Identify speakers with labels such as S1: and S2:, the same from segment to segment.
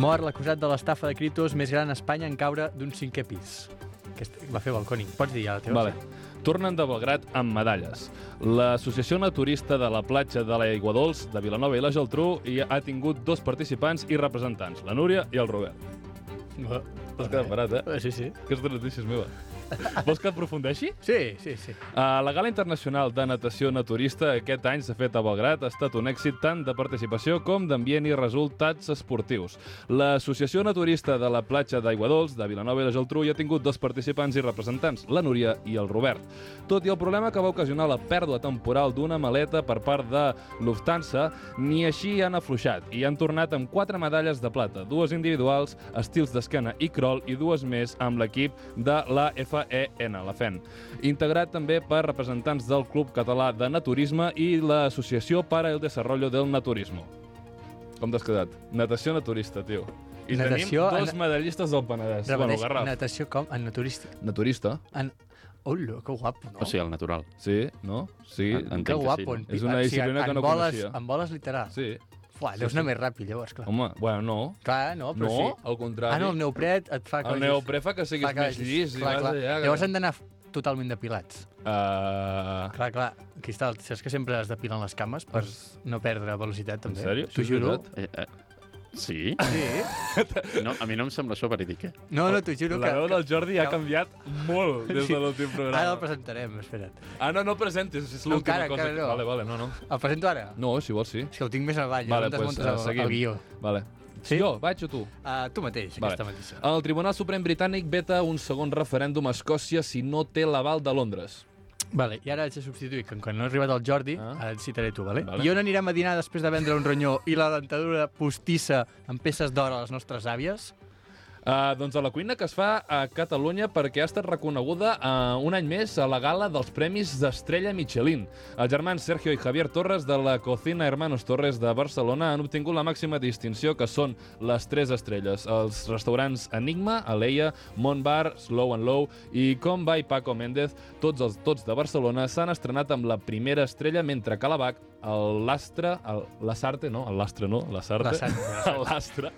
S1: Mor l'acusat de l'estafa de criptos més gran a Espanya en caure d'un cinquè pis. Aquest va fer balcònic. Pots dir ja la teva?
S2: Vale. Tornen de Belgrat amb medalles. L'Associació Naturista de la Platja de l'Aigua Dols de Vilanova i la Geltrú hi ha tingut dos participants i representants, la Núria i el Robert.
S1: Va.
S2: T'has quedat parat, eh?
S1: Eh, Sí, sí.
S2: Aquesta notícia és meva. Vols que aprofundeixi?
S1: Sí, sí, sí.
S2: A la Gala Internacional de Natació Naturista aquest any s'ha fet a Belgrat ha estat un èxit tant de participació com d'ambient i resultats esportius. L'Associació Naturista de la Platja d'Aiguadols de Vilanova i la Geltrú hi ha tingut dos participants i representants, la Núria i el Robert. Tot i el problema que va ocasionar la pèrdua temporal d'una maleta per part de Lufthansa, ni així han afluixat i han tornat amb quatre medalles de plata, dues individuals, estils d'esquena i crol i dues més amb l'equip de la FEN, la E FEN. Integrat també per representants del Club Català de Naturisme i l'Associació para el Desarrollo del Naturismo. Com t'has quedat? Natació naturista, tio. I
S1: Natació
S2: tenim dos
S1: en-
S2: medallistes del Penedès. Bueno,
S1: Repeteix,
S2: Garraf.
S1: natació com? En naturístic.
S2: Naturista?
S1: En... Hola, que guapo, no?
S3: O sigui, el natural.
S2: Sí, no? Sí,
S3: En-
S1: que
S3: entenc que sí.
S1: guapo. en
S2: És
S1: pi-
S2: una
S1: o sigui,
S2: disciplina
S1: en
S2: que no
S1: boles,
S2: coneixia.
S1: En boles literal. Sí.
S2: Sí.
S1: Fuà, deus
S2: sí,
S1: anar
S2: sí.
S1: més ràpid, llavors, clar.
S2: Home, bueno, no.
S1: Clar, no, però
S2: no,
S1: sí.
S2: al contrari.
S1: Ah, no, el neopret et fa que
S2: El
S1: vagis-
S2: neoprè fa que siguis
S1: fa que
S2: més
S1: vagis-
S2: llis.
S1: clar, clar.
S2: Allà,
S1: Llavors han d'anar totalment depilats.
S2: Uh,
S1: Clar, clar, Cristal, saps que sempre es depilen les cames per no perdre velocitat, també?
S2: sèrio?
S1: T'ho
S2: Això és
S1: juro.
S2: veritat?
S3: Eh, eh, sí?
S1: Sí.
S3: No, a mi no em sembla això verídic, eh?
S1: No, no, t'ho juro
S2: La
S1: que...
S2: veu del Jordi ha
S1: que-
S2: canviat molt des
S1: Sí.
S2: de l'últim programa.
S1: Ara el presentarem, espera't.
S2: Ah, no, no el presentis, és
S1: No,
S2: l'última
S1: encara,
S2: cosa.
S1: encara
S2: que-
S1: no.
S2: Vale, vale, no, no.
S1: El presento ara?
S2: No, si vols, sí.
S1: És que el tinc més avall,
S2: Vale,
S1: vale, no em
S2: doncs,
S1: desmuntes
S2: eh,
S1: pues, el,
S2: seguim.
S1: el guió.
S2: Vale.
S1: Sí?
S2: Jo, vaig o tu?
S1: Uh, tu mateix,
S2: Vale.
S1: aquesta mateixa.
S2: El Tribunal Suprem Britànic veta un segon referèndum a Escòcia si no té l'aval de Londres.
S1: Vale, i ara haig de substituir, que quan no ha arribat el Jordi,
S2: Ah.
S1: ah. ara et citaré tu, vale?
S2: Vale.
S1: vale? I on anirem a dinar després de vendre un ronyó i la dentadura postissa amb peces d'or a les nostres àvies?
S2: Uh, doncs a la cuina que es fa a Catalunya perquè ha estat reconeguda uh, un any més a la gala dels Premis d'Estrella Michelin. Els germans Sergio i Javier Torres de la Cocina Hermanos Torres de Barcelona han obtingut la màxima distinció que són les tres estrelles. Els restaurants Enigma, Aleia, Montbar, Slow and Low i Com va i Paco Méndez, tots els tots de Barcelona, s'han estrenat amb la primera estrella mentre que l'Abac, el Lastre, el Lasarte, no? El Lastre, no? Lasarte.
S1: Lasarte, Lasarte.
S2: L'Astre.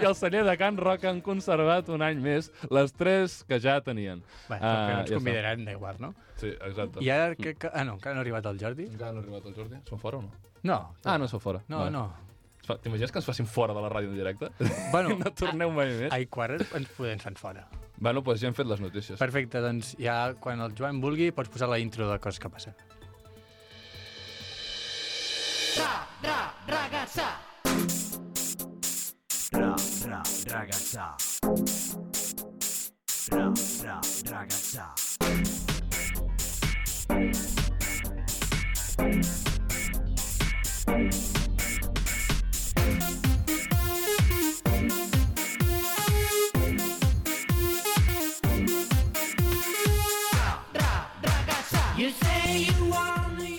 S2: I el celler de Can Roc han conservat un any més les tres que ja tenien.
S1: Bé, uh,
S2: Ah,
S1: ens
S2: ja Doncs mm.
S1: convidaran d'igual, no?
S2: està. Sí, exacte.
S1: I ara crec que... Ah, no, encara no ha arribat el Jordi?
S2: Encara no ha arribat el Jordi? Són fora o no?
S1: No.
S2: Ah, no són fora.
S1: No, no.
S2: Es fa- T'imagines que ens facin fora de la ràdio en directe?
S1: Bueno,
S2: no torneu mai més.
S1: Ai, quart ens podem fer fora.
S2: Bueno, doncs ja hem fet les notícies.
S1: Perfecte, doncs ja quan el Joan vulgui pots posar la intro de coses que passen.
S4: Ra, ra, ragazza. Ra, ra, ragazza.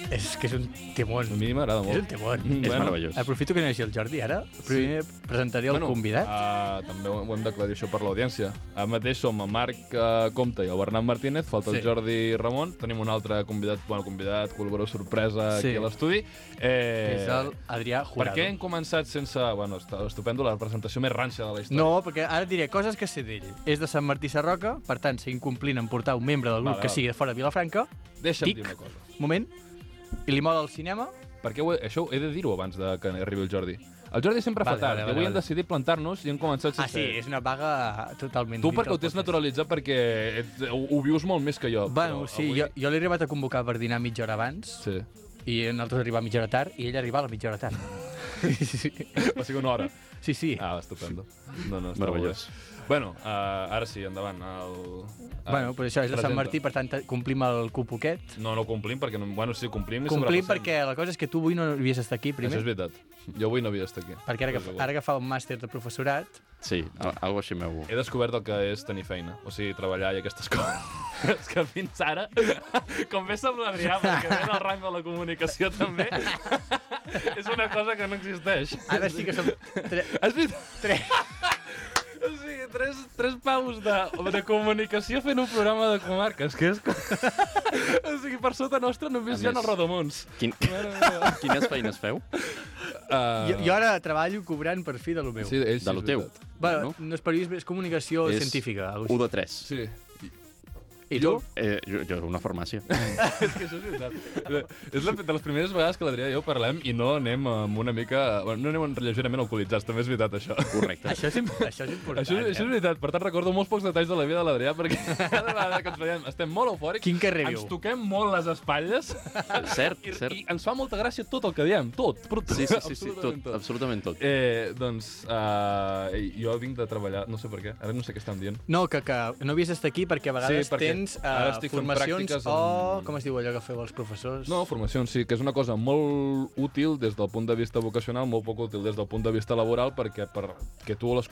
S1: És que és un temón.
S2: A mi m'agrada molt.
S1: És un temón.
S2: Mm,
S3: És meravellós.
S1: Aprofito que no hi hagi el Jordi ara. Primer presentaré el convidat.
S2: Uh, també ho ho hem d'aclarir això per l'audiència. Ara mateix som el Marc uh, Comte i el Bernat Martínez, falta sí.
S1: Sí.
S2: el Jordi Ramon, tenim un altre convidat, bueno, convidat, col·laborador sorpresa sí.
S1: Sí.
S2: aquí a l'estudi. Eh,
S1: és el Adrià
S2: Per
S1: Jurado.
S2: què hem començat sense... Bueno, està estupendo, la presentació més ranxa de la història.
S1: No, perquè ara diré coses que sé d'ell. És de Sant Martí Sarroca, per tant, seguim complint en portar un membre del grup
S2: Vale,
S1: que
S2: vale.
S1: sigui de fora de Vilafranca.
S2: Deixa'm
S1: tic.
S2: dir una cosa.
S1: Moment. I li mola el cinema.
S2: Perquè ho he, això ho he de dir-ho abans de que arribi el Jordi. El Jordi sempre
S1: Vale,
S2: fa tard.
S1: vale,
S2: i
S1: vale,
S2: avui hem
S1: vale.
S2: decidit plantar-nos i hem començat sense...
S1: Ah, sí, és una vaga totalment...
S2: Tu
S1: dins
S2: perquè
S1: del
S2: ho tens
S1: podcast.
S2: naturalitzat perquè et, ho, ho vius molt més que jo.
S1: Bueno,
S2: però
S1: sí,
S2: avui...
S1: jo, jo l'he arribat a convocar per dinar mitja hora abans sí.
S2: Sí.
S1: i nosaltres arribar mitja hora tard i ell arribar a la mitja hora tard. sí, sí.
S2: Va ser una hora.
S1: sí, sí.
S2: Ah, estupendo. No, no, està molt
S3: Meravellós.
S2: bé. Bueno, uh, ara sí, endavant. El... ah,
S1: bueno, però això és de Sant
S2: presenta.
S1: Martí, per tant, complim el cupoquet.
S2: No, no complim, perquè... No, bueno, sí, complim i
S1: Complim
S2: sobrepassem.
S1: perquè la cosa és que tu avui no havies d'estar aquí,
S2: Això
S1: primer.
S2: és veritat. Jo avui no havia d'estar aquí.
S1: Perquè ara que,
S2: Però és
S1: fa-
S2: igual.
S1: ara que fa un màster de professorat,
S3: Sí, al- algo així meu.
S2: He descobert el que és tenir feina, o sigui, treballar i aquestes coses. és que fins ara, com bé sap l'Adrià, perquè ve del rang de la comunicació també, és una cosa que no existeix.
S1: ara sí que som... tre-
S2: Has vist? Tres. O sigui, tres, tres paus de, de comunicació fent un programa de comarques, que és... com- o sigui, per sota nostra només
S3: A
S2: hi ha
S3: més-
S2: els rodomons.
S3: Quin...
S2: Mare meva.
S3: Quines feines feu?
S2: Uh,
S1: Jo, jo ara treballo cobrant per fi de lo meu.
S2: Sí, ell, sí,
S3: De lo
S2: és
S3: teu.
S2: veritat.
S1: bueno,
S3: no?
S1: no? és periodisme, és comunicació
S3: És
S1: científica. algo així.
S3: 1 de 3.
S2: Sí.
S1: I tu?
S3: Eh, jo, jo, una farmàcia.
S2: és que això és veritat. És la, de les primeres vegades que l'Adrià i jo parlem i no anem amb una mica... Bueno, no anem lleugerament alcoholitzats, també és veritat, això.
S3: Correcte.
S1: Això, és, im- això és important.
S2: Això, és- això és
S1: eh?
S2: veritat. Per tant, recordo molts pocs detalls de la vida de l'Adrià, perquè cada vegada que ens veiem estem molt eufòrics,
S1: Quin carrer
S2: ens
S1: viu?
S2: toquem molt les espatlles
S3: Eh, Cert,
S2: i,
S3: cert.
S2: i ens fa molta gràcia tot el que diem, tot. Però,
S3: Sí, sí, sí, sí,
S2: absolutament
S3: tot, absolutament tot.
S2: Eh, doncs, uh, jo vinc de treballar, no sé per què, ara no sé què estan dient.
S1: No, que, que no havies d'estar aquí perquè a vegades
S2: Sí, perquè
S1: tens
S2: ara
S1: uh,
S2: estic fent
S1: formacions
S2: pràctiques
S1: o...
S2: amb-
S1: Com es diu allò que feu els professors?
S2: No, formació sí, que és una cosa molt útil des del punt de vista vocacional, molt poc útil des del punt de vista laboral, perquè per que tu les,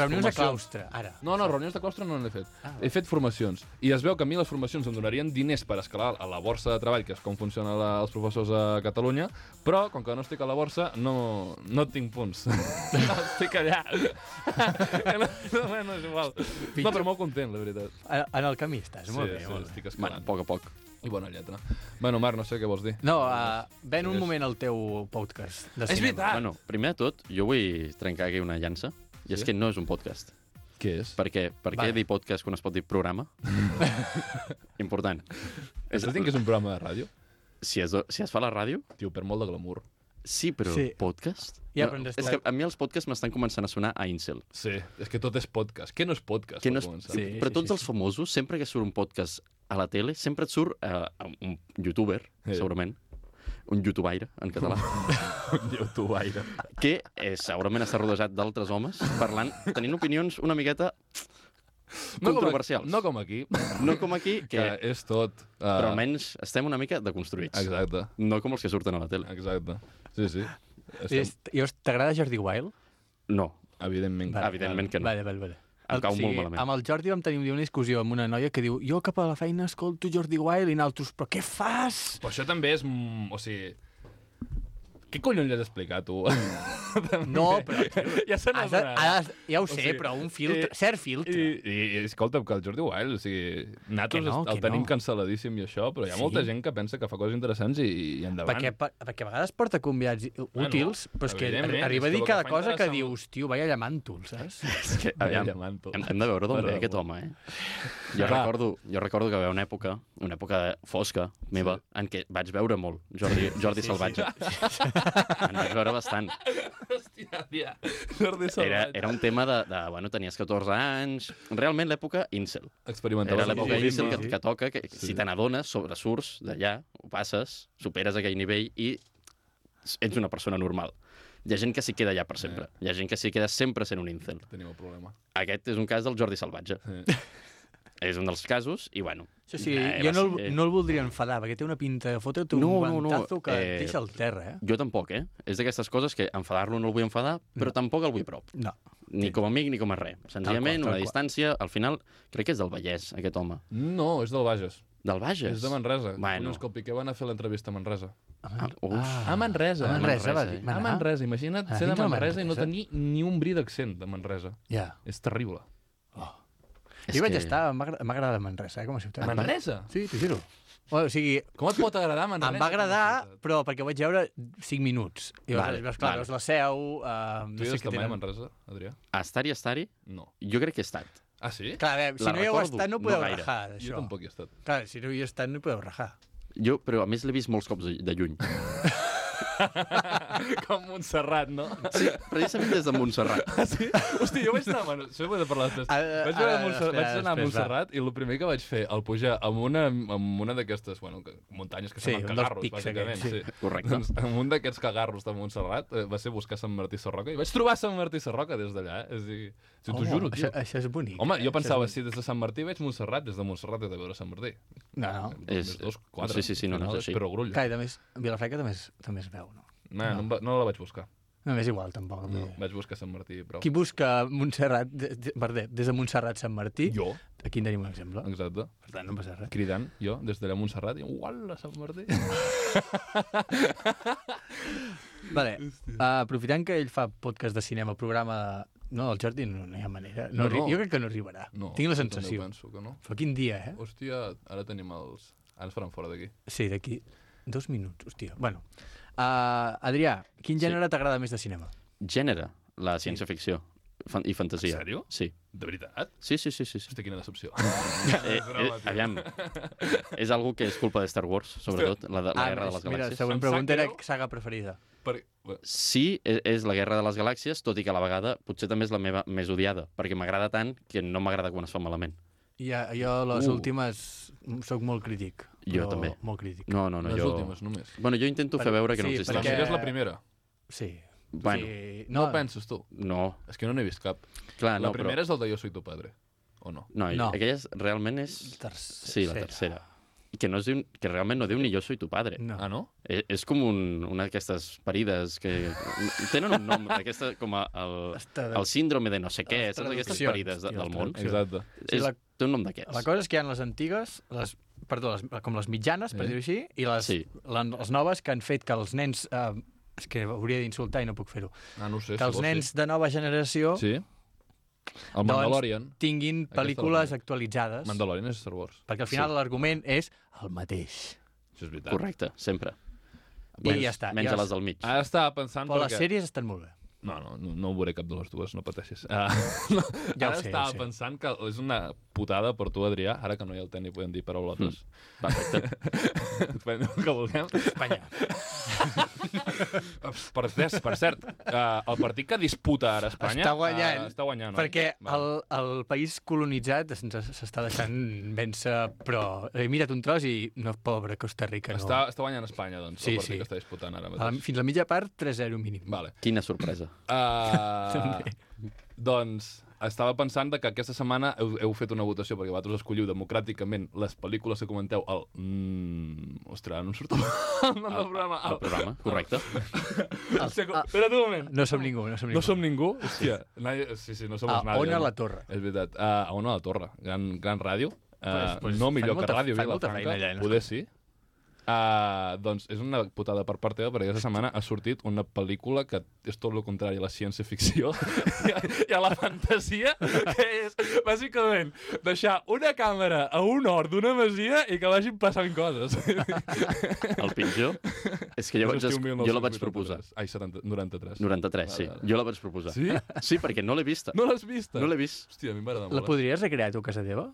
S1: Reunions a
S2: formacions-
S1: claustre, ara.
S2: No, no, reunions de claustre no n'he fet.
S1: Ah,
S2: he fet formacions. I es veu que a mi les formacions em donarien diners per escalar a la borsa de treball, que és com funciona la, els professors a Catalunya, però com que no estic a la borsa, no, no tinc punts. no, estic allà. no, no, bueno, és igual. No, però molt content, la veritat.
S1: A- En el camí estàs, molt bé,
S2: sí,
S1: molt bé.
S2: estic
S3: Bueno, a
S2: escalant.
S3: poc a poc.
S2: I bona lletra. Bueno, Marc, no sé què vols dir.
S1: No, uh, ven un
S2: Digues.
S1: moment al teu podcast de
S2: És
S1: cinema.
S2: veritat. Ah.
S3: Bueno, primer de tot, jo vull trencar aquí una llança. I és
S2: Sí?
S3: que no és un podcast.
S2: Què és?
S3: Per què? Per què
S1: Vale.
S3: dir podcast quan es pot dir programa? Important.
S2: Estàs dient que és un programa de ràdio?
S3: Si es, do- si es fa a la ràdio,
S2: Tio, per molt de glamour.
S3: sí, però
S1: Sí.
S3: podcast?
S1: Ja, però ens
S3: és que
S1: estem-
S3: a mi els podcasts m'estan començant a sonar a Incel.
S2: Sí, és que tot és podcast. Què no és podcast?
S3: Que no
S2: per
S3: és...
S2: començar?
S1: Sí,
S3: però
S1: sí,
S3: tots
S1: sí,
S3: els famosos, sempre que surt un podcast a la tele, sempre et surt eh, un youtuber,
S2: Sí.
S3: segurament, un youtubaire, en català,
S2: Un youtubaire.
S3: que eh, segurament està rodejat d'altres homes parlant, tenint opinions una miqueta controversials.
S2: No com aquí, que,
S3: No com aquí, que,
S2: que és tot. Uh,
S3: però almenys estem una mica deconstruïts.
S2: Exacte,
S3: No com els que surten a la tele.
S2: exacte. Sí, sí. Estem,
S1: És, llavors, t'agrada Jordi Wild?
S3: No,
S2: Evidentment.
S1: Vale.
S3: evidentment que no.
S1: Vale, vale, vale.
S3: Em cau
S1: o
S3: molt malament.
S1: Amb el Jordi vam tenir un dia una discussió amb una noia que diu jo cap a la feina escolto Jordi Wild i naltros, però què fas?
S2: Però això també és... mm, O sigui... Què collons li has explicat, tu?
S1: No, però...
S2: ja se
S1: Has de, has, ja ho sé,
S2: sigui,
S1: però un filtre,
S2: eh,
S1: cert
S2: I,
S1: filtre.
S2: i, i escolta, que el Jordi Wild, o sigui,
S1: Que
S2: nosaltres
S1: no,
S2: el
S1: que
S2: tenim
S1: no.
S2: cancel·ladíssim i això, però hi ha molta
S1: Sí.
S2: gent que pensa que fa coses interessants i, i endavant.
S1: Perquè, per- perquè a vegades porta conviats i- útils, però és que
S2: evidentment,
S1: arri- arriba a
S2: és
S1: dir
S2: que el que
S1: cada
S2: fa
S1: cosa que
S2: interessant-
S1: dius, tio, vaya llamàntol, saps?
S3: És que, aviam,
S2: Diamanto.
S3: hem, hem de veure d'on
S2: Mare
S3: ve
S2: de
S3: aquest
S2: Déu.
S3: home, eh? Jo
S2: Clar.
S3: recordo, jo recordo que va haver una època, una època fosca meva, en què vaig veure molt Jordi, Jordi sí, Salvatge. Sí. En vaig veure bastant.
S2: Hòstia, tia. Jordi
S3: Era,
S2: Salvatge.
S3: era un tema de, de, bueno, tenies 14 anys... Realment l'època incel.
S2: Experimentava
S3: Era
S1: sí,
S3: l'època
S1: sí,
S3: incel que,
S1: sí.
S3: que toca, que
S2: Sí.
S3: si te n'adones, sobresurts d'allà, ho passes, superes aquell nivell i ets una persona normal. Hi ha gent que s'hi queda allà per sempre. Hi ha gent que s'hi queda sempre sent un incel.
S2: Tenim el problema. Eh,
S3: Aquest és un cas del Jordi Salvatge.
S2: Sí.
S3: És un dels casos i, bueno...
S1: Això sí,
S3: eh,
S1: jo
S3: va
S1: no el,
S3: ser-
S1: no el voldria enfadar, perquè té una pinta de fotre un
S3: No, no, no,
S1: guantazo que
S3: eh,
S1: et deixa al terra, eh?
S3: Jo tampoc, eh? És d'aquestes coses que enfadar-lo no el vull enfadar, però tampoc el vull prop.
S1: No.
S3: Ni com a amic ni com a res. Senzillament,
S1: tal
S3: una
S1: qual.
S3: distància. Al final, crec que és del Vallès, aquest home.
S2: No, és del Bages.
S3: Del Bages?
S2: És de Manresa.
S3: Bueno.
S2: Bueno. que el Piqué van a fer l'entrevista a Manresa.
S3: Ah, us.
S2: A
S1: A
S2: Manresa.
S1: Manresa, va
S3: Manresa,
S1: dir.
S3: eh?
S1: va
S2: A
S1: anar?
S2: Manresa, imagina't
S1: Ah,
S2: ser de
S1: dintre de
S2: Manresa i no
S1: Manresa.
S2: tenir ni un bri d'accent de Manresa.
S1: Ja.
S2: És terrible.
S3: És
S1: Jo vaig
S3: que-
S1: estar, m'agra- m'agrada Manresa, eh, com a ciutat.
S2: Manresa?
S1: Sí, t'ho juro. O sigui,
S2: Com et pot agradar Manresa?
S1: Em va agradar,
S2: com a ciutat?
S1: però perquè ho vaig veure 5 minuts. I
S3: Vale,
S1: vale, veus, clar, vale.
S3: vale.
S1: veus la seu... Uh,
S2: Tu hi has estat mai a Manresa, Adrià?
S3: A estar-hi, a estar-hi,
S2: No.
S3: jo crec que he estat.
S2: Ah, sí?
S1: Clar, a veure, si
S3: La
S1: no hi heu
S3: recordo,
S1: estat no
S3: no
S1: podeu
S3: gaire.
S1: rajar, d'això.
S2: Jo tampoc hi he estat.
S1: Clar, si no hi heu estat no hi podeu rajar.
S3: Jo, però a més l'he vist molts cops de, de lluny.
S2: Com Montserrat, no?
S3: Sí, precisament des de Montserrat.
S2: Ah, sí? Hosti, jo vaig anar... Bueno, això ho he de parlar després.
S1: Ara, ara,
S2: Vaig, veure
S1: ara, Ah,
S2: Montserrat,
S1: espera,
S2: vaig anar a
S1: després, va.
S2: Montserrat i el primer que vaig fer al pujar amb una, amb una d'aquestes bueno, que, muntanyes que
S1: Sí,
S2: semblen
S1: un dels
S2: cagarros,
S1: pics
S2: bàsicament.
S1: aquests, sí.
S2: sí.
S3: Correcte.
S2: Doncs amb un d'aquests cagarros de Montserrat eh, va ser buscar Sant Martí Sarroca i vaig trobar Sant Martí Sarroca des d'allà. Eh? És a dir, si t'ho juro, tio.
S1: Oh, Això, això és bonic. eh?
S2: Home, jo
S1: Això
S2: pensava,
S1: és
S2: si des de Sant Martí veig Montserrat, des de Montserrat he de veure Sant Martí.
S1: bonic. No, no.
S3: És-
S2: Més dos, quatre.
S3: sí, sí, sí, no, no, és així.
S2: Però grull.
S1: Clar, i també és, Vilafranca també es, també es veu, no?
S2: No, no, em va- no la vaig buscar.
S1: No m'és igual, tampoc.
S2: No,
S1: No.
S2: vaig buscar Sant Martí, però...
S1: Qui busca Montserrat, de, de, Verder, des de Montserrat Sant Martí,
S2: Jo,
S1: aquí en tenim un exemple.
S2: exacte.
S1: Per tant, no passa res.
S2: Cridant, jo, des d'allà a Montserrat, i uala, Sant Martí.
S1: Vale. Uh, aprofitant que ell fa podcast de cinema, programa... No, el Jordi no, no hi ha manera. No,
S2: No,
S1: arri-
S2: no.
S1: Jo crec que no arribarà.
S2: No,
S1: Tinc la
S2: jo també
S1: sensació.
S2: penso que no.
S1: Però quin dia, eh?
S2: Hòstia, ara tenim els... Ara ens faran fora d'aquí.
S1: Sí, d'aquí dos minuts, hòstia. Bueno, Uh, Adrià, quin
S3: Sí.
S1: gènere t'agrada més de cinema?
S3: Gènere, la ciència-ficció fan- i fantasia.
S2: En sèrio?
S3: Sí.
S2: De veritat?
S3: Sí, sí, sí, sí. sí.
S2: Hosti, quina decepció.
S3: Eh, eh, aviam, és algo que és culpa de Star Wars, sobretot, la, de, la
S1: Ah,
S3: Guerra de
S1: és-
S3: les
S1: mira,
S3: Galàxies.
S1: següent
S2: Em sap
S1: pregunta era
S2: greu.
S1: saga preferida.
S2: Per... Bueno,
S3: Sí, és, és la Guerra de les Galàxies, tot i que a la vegada potser també és la meva més odiada, perquè m'agrada tant que no m'agrada quan es fa malament.
S1: I a, jo les
S3: Uh.
S1: uh. últimes mm, sóc molt crític.
S3: Jo
S1: però
S3: també.
S1: Molt crític.
S3: No, no, no,
S2: les
S3: jo...
S2: últimes, només.
S3: Bueno, jo intento
S1: Per-
S3: fer veure que no
S1: sí,
S2: Perquè... La
S3: existeix.
S1: perquè-
S2: millor és la primera.
S1: Sí.
S3: Bueno,
S1: sí.
S2: No, no penses tu.
S3: no,
S2: És que no n'he vist cap.
S3: clar,
S2: Ah, no,
S3: no,
S2: la primera però... és el de Jo soy tu padre. O no?
S3: però... No,
S1: No.
S3: no, aquella és, realment és...
S1: Tercera.
S3: Sí, la tercera. I que, no es diu, que realment no diu ni jo soy tu padre.
S1: No.
S2: Ah, no?
S3: És, és com un, una d'aquestes parides que... Tenen un nom, aquesta, com a, el,
S1: Està de-
S3: el síndrome de no sé què,
S1: Les
S3: saps? Aquestes
S1: traduccions,
S3: parides de,
S1: tio,
S3: del
S1: les
S3: món.
S1: traduccions. Sí.
S2: Exacte.
S1: Sí,
S3: És,
S1: la-
S3: té un nom d'aquests.
S1: La cosa és que hi ha les antigues, les, perdó, les, com les mitjanes, per
S2: Sí.
S1: dir-ho així, i les, sí.
S3: Sí.
S1: les noves que han fet que els nens... Eh, és que hauria d'insultar i no puc fer-ho.
S2: Ah, no ho sé.
S1: Que els
S2: si vols,
S1: nens Doncs- de nova generació
S2: Sí. sí. El Mandalorian.
S1: tinguin
S2: Aquesta
S1: pel·lícules
S2: la-
S1: actualitzades.
S2: Mandalorian és Star Wars.
S1: Perquè al final sí. l'argument és el mateix.
S2: Això és veritat.
S3: Correcte, sempre.
S1: I ja està. Ah.
S3: Menys
S1: ja
S3: a les del mig.
S2: Ara estava pensant...
S1: Però les
S2: perquè...
S1: sèries estan molt bé.
S2: No, no, no, no ho veuré cap de les dues, no pateixis. Uh, no.
S1: Ja ho sé, ja
S2: ara
S1: ho
S2: estava
S1: sé.
S2: pensant que és una putada per tu, Adrià, ara que no hi ha el tenis, podem dir paraulotes.
S3: Perfecte.
S1: Hmm.
S2: Mm. el que vulguem.
S1: Espanya.
S2: Per, cert, per cert, uh, el partit que disputa ara Espanya...
S1: Està guanyant,
S2: eh, està guanyant, oi?
S1: Perquè el,
S2: Val.
S1: el país colonitzat ens- s'està deixant vèncer, però he mirat un tros i no, pobre Costa Rica, no.
S2: Està, està guanyant Espanya, doncs,
S1: Sí,
S2: el partit
S1: sí.
S2: que està disputant ara
S1: A la,
S2: mateix.
S1: fins a la mitja part, 3-0 mínim.
S2: Vale.
S3: Quina sorpresa.
S2: Uh,
S1: També.
S2: doncs estava pensant de que aquesta setmana heu, heu fet una votació perquè vosaltres escolliu democràticament les pel·lícules que comenteu al... Mm, ostres, no em surt el el nom del programa.
S3: El programa, correcte.
S2: El... segon- Espera't un moment.
S1: No som ningú, no som ningú.
S2: No som ningú? Hòstia. Nadie... Sí, sí, no som
S1: A
S2: els nadie.
S1: Ona
S2: no?
S1: la Torre.
S2: És veritat. Uh, a Ona la Torre. Gran, gran ràdio. Uh,
S1: Pues- pues
S2: no
S1: fan
S2: millor
S1: molta-
S2: que ràdio
S1: fan molta
S2: Vilafranca.
S1: feina allà, no?
S2: Poder sí. Uh, doncs és una putada per part teva perquè aquesta setmana ha sortit una pel·lícula que és tot el contrari a la ciència-ficció i, a, i a la fantasia que és bàsicament deixar una càmera a un hort d'una masia i que vagin passant coses
S3: El pitjor és que jo, vaig, es... jo la vaig proposar.
S2: Ai, 70, 93
S3: 93, sí.
S2: Vale, vale.
S3: Jo la vaig proposar.
S2: Sí?
S3: Sí, perquè no l'he vista.
S2: No l'has vista?
S3: No l'he vist.
S2: Hòstia, a mi m'agrada molt. eh?
S1: La podries recrear tu a casa teva?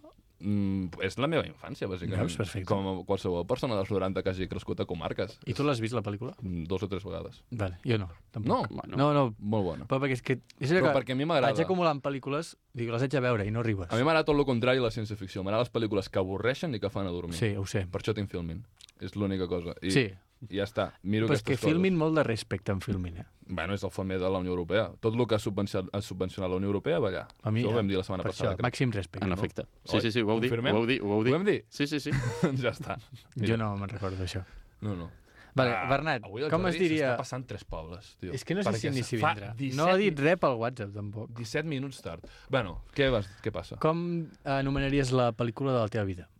S2: Mm, és la meva infància, bàsicament.
S1: Veus? Perfecte.
S2: Com qualsevol persona dels 90 que hagi crescut a comarques.
S1: I tu l'has vist, la pel·lícula?
S2: Mm, Dos o tres vegades.
S1: Vale, jo no. Tampoc.
S2: No,
S3: Bueno,
S1: No, no,
S2: molt bona.
S1: però perquè és que... És allò
S2: Però
S1: que
S2: perquè a mi m'agrada...
S1: vaig acumulant pel·lícules, dic, les haig de veure i no arribes.
S2: A mi m'agrada tot el contrari a la ciència-ficció. M'agrada les pel·lícules que avorreixen i que fan a dormir.
S1: Sí, ho sé.
S2: Per això tinc Filmin. És l'única cosa. I,
S1: Sí,
S2: I ja està. Miro
S1: però és que
S2: aquestes coses.
S1: filmin molt de respecte en filmin, eh?
S2: Bueno, és el fomer de la Unió Europea. Tot el que ha subvencionat, ha subvencionat la Unió Europea va allà.
S1: A mi,
S2: això ho
S1: eh,
S2: vam dir la setmana
S1: Per això,
S2: passada. crec.
S1: màxim respecte.
S3: en
S1: No,
S3: efecte. Sí, sí, sí, ho vau dir.
S2: Confirmem?
S3: Ho vau dir, ho vau
S2: Ho
S3: dir.
S2: vam dir?
S3: Sí, sí, sí.
S2: Doncs ja està.
S1: jo no me'n recordo d'això.
S2: No, no.
S1: Vale,
S2: Ah,
S1: Bernat,
S2: avui el
S1: com es
S2: Jordi
S1: diria...
S2: S'està passant tres pobles, tio.
S1: És que no sé
S2: Perquè
S1: si ni
S2: se
S1: si
S2: fa
S1: vindrà. No ha
S2: 17
S1: dit res pel WhatsApp, tampoc.
S2: 17 minuts tard. Bueno, què, vas, què passa? Com?
S1: Com anomenaries la pel·lícula de la teva vida?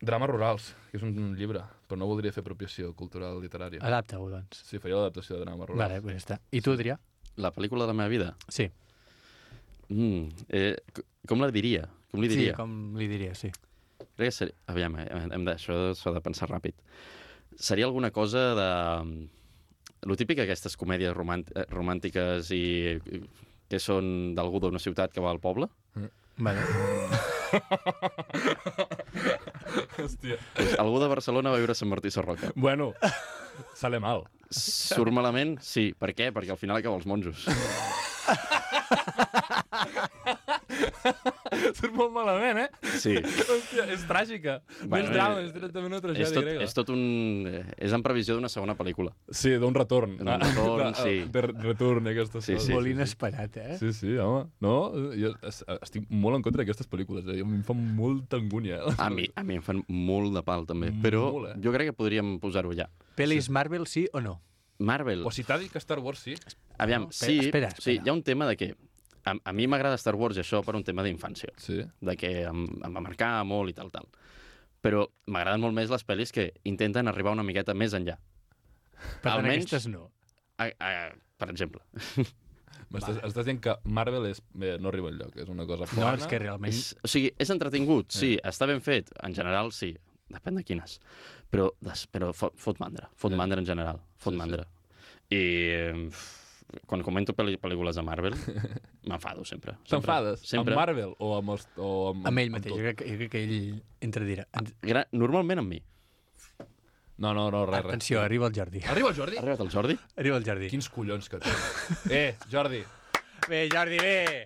S2: Drames rurals, que és un, un llibre, però no voldria fer apropiació cultural literària. Ah.
S1: Adapta-ho, doncs.
S2: Sí, faria l'adaptació de drames rurals.
S1: Vale, pues ja està. I tu, Adrià?
S3: La pel·lícula de la meva vida.
S1: Sí.
S3: Mm, eh, c- com la diria? Com li diria?
S1: Sí, com li diria, sí.
S3: Crec que seria... Aviam, eh, hem de, això s'ha de pensar ràpid. Seria alguna cosa de... Lo típic d'aquestes comèdies romànt- eh, romàntiques i que són d'algú d'una ciutat que va al poble.
S1: Vale.
S2: Hòstia.
S3: Doncs algú de Barcelona va viure a Sant Martí Sarroca.
S2: Bueno, sale mal.
S3: Surt malament? Sí. Per què? Perquè al final acaba els monjos.
S2: Surt molt malament, eh?
S3: Sí.
S2: Hòstia, és tràgica. no és
S3: Bueno,
S2: drama,
S3: eh,
S2: és directament una tragèdia
S3: és, tot,
S2: grega.
S3: és tot un... eh, És en previsió d'una segona pel·lícula.
S2: Sí, d'un retorn. Ah,
S3: D'un retorn, sí.
S2: De retorn i aquestes
S3: Sí,
S2: coses.
S3: sí.
S1: Molt inesperat, eh?
S2: Sí, sí, home. No, jo es- estic molt en contra d'aquestes pel·lícules. Eh? A mi em fa molta angúnia. Eh?
S3: A mi, a mi em fan molt de pal, també. Però
S2: Molt, eh?
S3: jo crec que podríem posar-ho ja.
S1: Pel·lis Marvel, sí o no?
S3: Marvel.
S2: O si t'ha dit que Star Wars sí.
S3: Aviam,
S1: Espera,
S3: sí,
S1: espera,
S3: sí,
S1: espera.
S3: hi ha un tema de que... A, a mi m'agrada Star Wars i això per un tema d'infància,
S2: Sí.
S3: de que em, em va marcar molt i tal, tal. Però m'agraden molt més les pel·lis que intenten arribar una miqueta més enllà.
S1: Per tant,
S3: Almenys-
S1: aquestes no.
S3: A, a, per exemple.
S2: M'estàs estàs dient que Marvel és, bé, no arriba enlloc, és una cosa
S1: No,
S2: plana.
S1: és que realment...
S2: Eh.
S3: És, o sigui, és entretingut, sí. Està ben fet, en general, sí. depèn de quines. Però, des, però fot, fot mandra, fot
S2: Ja.
S3: mandra en general,
S2: Eh. Sí,
S3: fot
S2: sí.
S3: sí, mandra. I eh, f- quan comento pel·li- pel·lícules de Marvel, m'enfado sempre. sempre.
S2: T'enfades? Amb
S3: Sempre.
S2: Marvel o amb, els, o amb,
S1: Amb ell
S2: amb
S1: mateix,
S2: tot?
S1: jo crec, que- jo crec que ell entra dirà.
S2: Ah,
S1: En,
S3: Gra normalment amb mi.
S2: No, no, no, res, res.
S1: atenció, eh. arriba el Jordi.
S2: Arriba el Jordi?
S3: Ha arribat el Jordi?
S1: Arriba el Jordi.
S2: Quins collons que té. eh, Jordi,
S1: Bé, Jordi, bé!